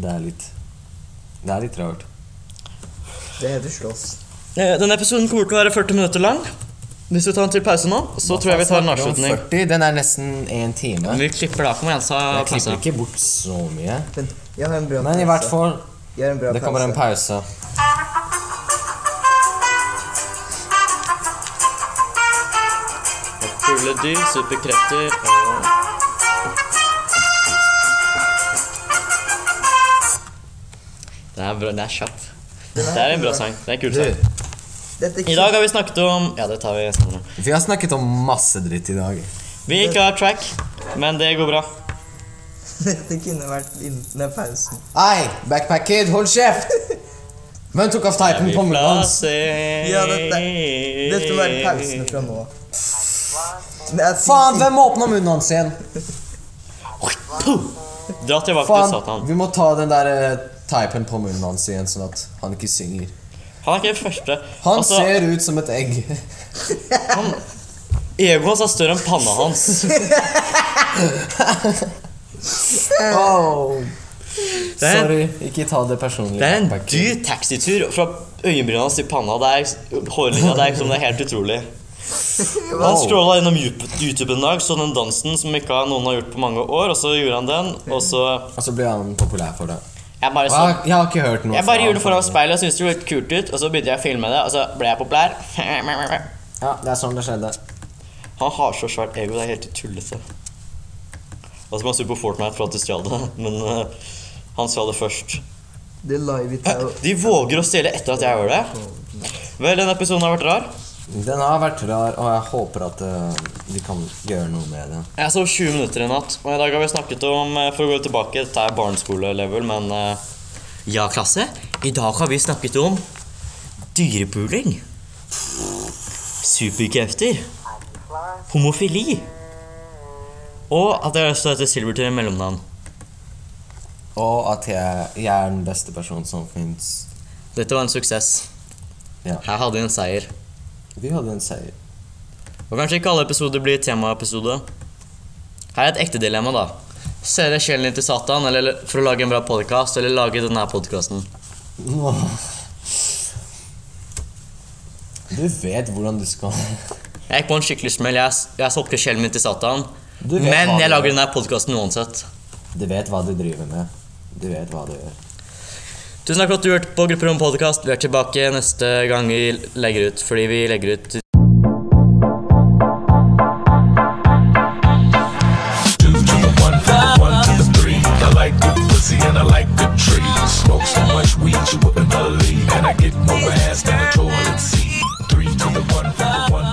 Speaker 2: det er litt Det er litt rart.
Speaker 3: Det heter slåss.
Speaker 1: Eh, Denne episoden kommer til å være 40 minutter lang. Hvis vi tar en til pause nå, så tror jeg vi tar en
Speaker 2: Snakker om
Speaker 1: avslutning.
Speaker 2: 40, den er nesten en time.
Speaker 1: Vi klipper det av. Kom igjen, sa
Speaker 2: Jeg klipper
Speaker 1: pause.
Speaker 2: ikke bort så mye.
Speaker 3: Men jeg har en bra
Speaker 2: Men i hvert fall,
Speaker 3: Jeg har en bra
Speaker 2: det kommer en
Speaker 3: pause.
Speaker 2: pause.
Speaker 1: Fugledyr, superkrefter og Det er bra. Det er kjapt. Det er en bra sang. Det er en kul
Speaker 2: Du,
Speaker 1: sang.
Speaker 3: Dette
Speaker 1: I dag har vi snakket om Ja, det tar vi senere.
Speaker 2: vi har snakket om masse dritt i dag.
Speaker 1: Vi ikke har track, men det går bra.
Speaker 3: Dette kunne vært innen pausen.
Speaker 2: Ei, backpack kid, hold kjeft! Men tok av teipen på munnen hans.
Speaker 3: Ja, dette, dette må være pausene fra nå. Men jeg-
Speaker 2: Faen, hvem åpna munnen hans igjen?
Speaker 1: Dra tilbake til
Speaker 2: Faen,
Speaker 1: Satan.
Speaker 2: vi må ta den der eh, teipen på munnen hans igjen, sånn at han ikke synger.
Speaker 1: Han er ikke den første.
Speaker 2: Han
Speaker 1: Altså,
Speaker 2: ser ut som et egg.
Speaker 1: Egoet hans er større enn panna hans.
Speaker 2: Oh.
Speaker 1: er en-
Speaker 2: Sorry, ikke ta det personlig.
Speaker 1: Det er en
Speaker 2: backpack kid.
Speaker 1: dyr taxitur fra øyenbrynene hans til panna. Det er hårlinja. Det er, liksom, det er helt utrolig. Han scrolla gjennom Yup- YouTube en dag, så den dansen som ikke har- noen har gjort på mange år, og så gjorde han den, og så
Speaker 2: Og så ble han populær for det.
Speaker 1: Jeg bare,
Speaker 2: Og Jeg,
Speaker 1: så,
Speaker 2: jeg har ikke hørt noe
Speaker 1: jeg bare gjorde det foran
Speaker 2: han.
Speaker 1: speilet og syntes det hørtes kult ut, og så begynte jeg å filme det, og så ble jeg populær. Han
Speaker 2: Ja, det er sånn det skjedde.
Speaker 1: har så svært ego, det er helt tullete. Og så var han sur på Fortnite for at du stjal det, men eh, han stjal det først.
Speaker 3: Det live i tau.
Speaker 1: De våger å stjele etter at jeg gjør det. Vel, denne episoden har vært rar.
Speaker 2: Den har vært rar, og jeg håper at eh, vi kan gjøre noe med det.
Speaker 1: Jeg sov 20 minutter i natt, og i dag har vi snakket om eh, For å gå tilbake, dette er barneskole-level, men eh, Ja, klasse. I dag har vi snakket om dyrepuling. Superkrefter. Homofili. Og at jeg har lyst til å hete Silver til mellomnavn.
Speaker 2: Og at jeg, jeg er den beste personen som fins.
Speaker 1: Dette var en suksess.
Speaker 2: Ja.
Speaker 1: Her hadde vi en seier.
Speaker 2: Vi hadde en seier.
Speaker 1: Og kanskje ikke alle episoder blir temaepisode. Her er et ekte dilemma, da. Selge sjelen din til Satan eller for å lage en bra podkast, eller lage denne podkasten.
Speaker 2: Du vet hvordan du skal
Speaker 1: Jeg gikk på en skikkelig smell. Jeg, jeg solgte sjelen min til Satan.
Speaker 2: Du vet
Speaker 1: Men
Speaker 2: hva
Speaker 1: jeg
Speaker 2: du
Speaker 1: lager
Speaker 2: gjør.
Speaker 1: denne podkasten uansett.
Speaker 2: Du vet hva du driver med. Du vet hva du gjør.
Speaker 1: Tusen takk for at du hørte på Grupperom podkast. Vi er tilbake neste gang vi legger ut, fordi vi legger ut
Speaker 4: two to the one, one to the three. I like the pussy and I like the tree. Smoke so much weed you wouldn't believe, and I get more ass than a toilet seat. Three to the one, one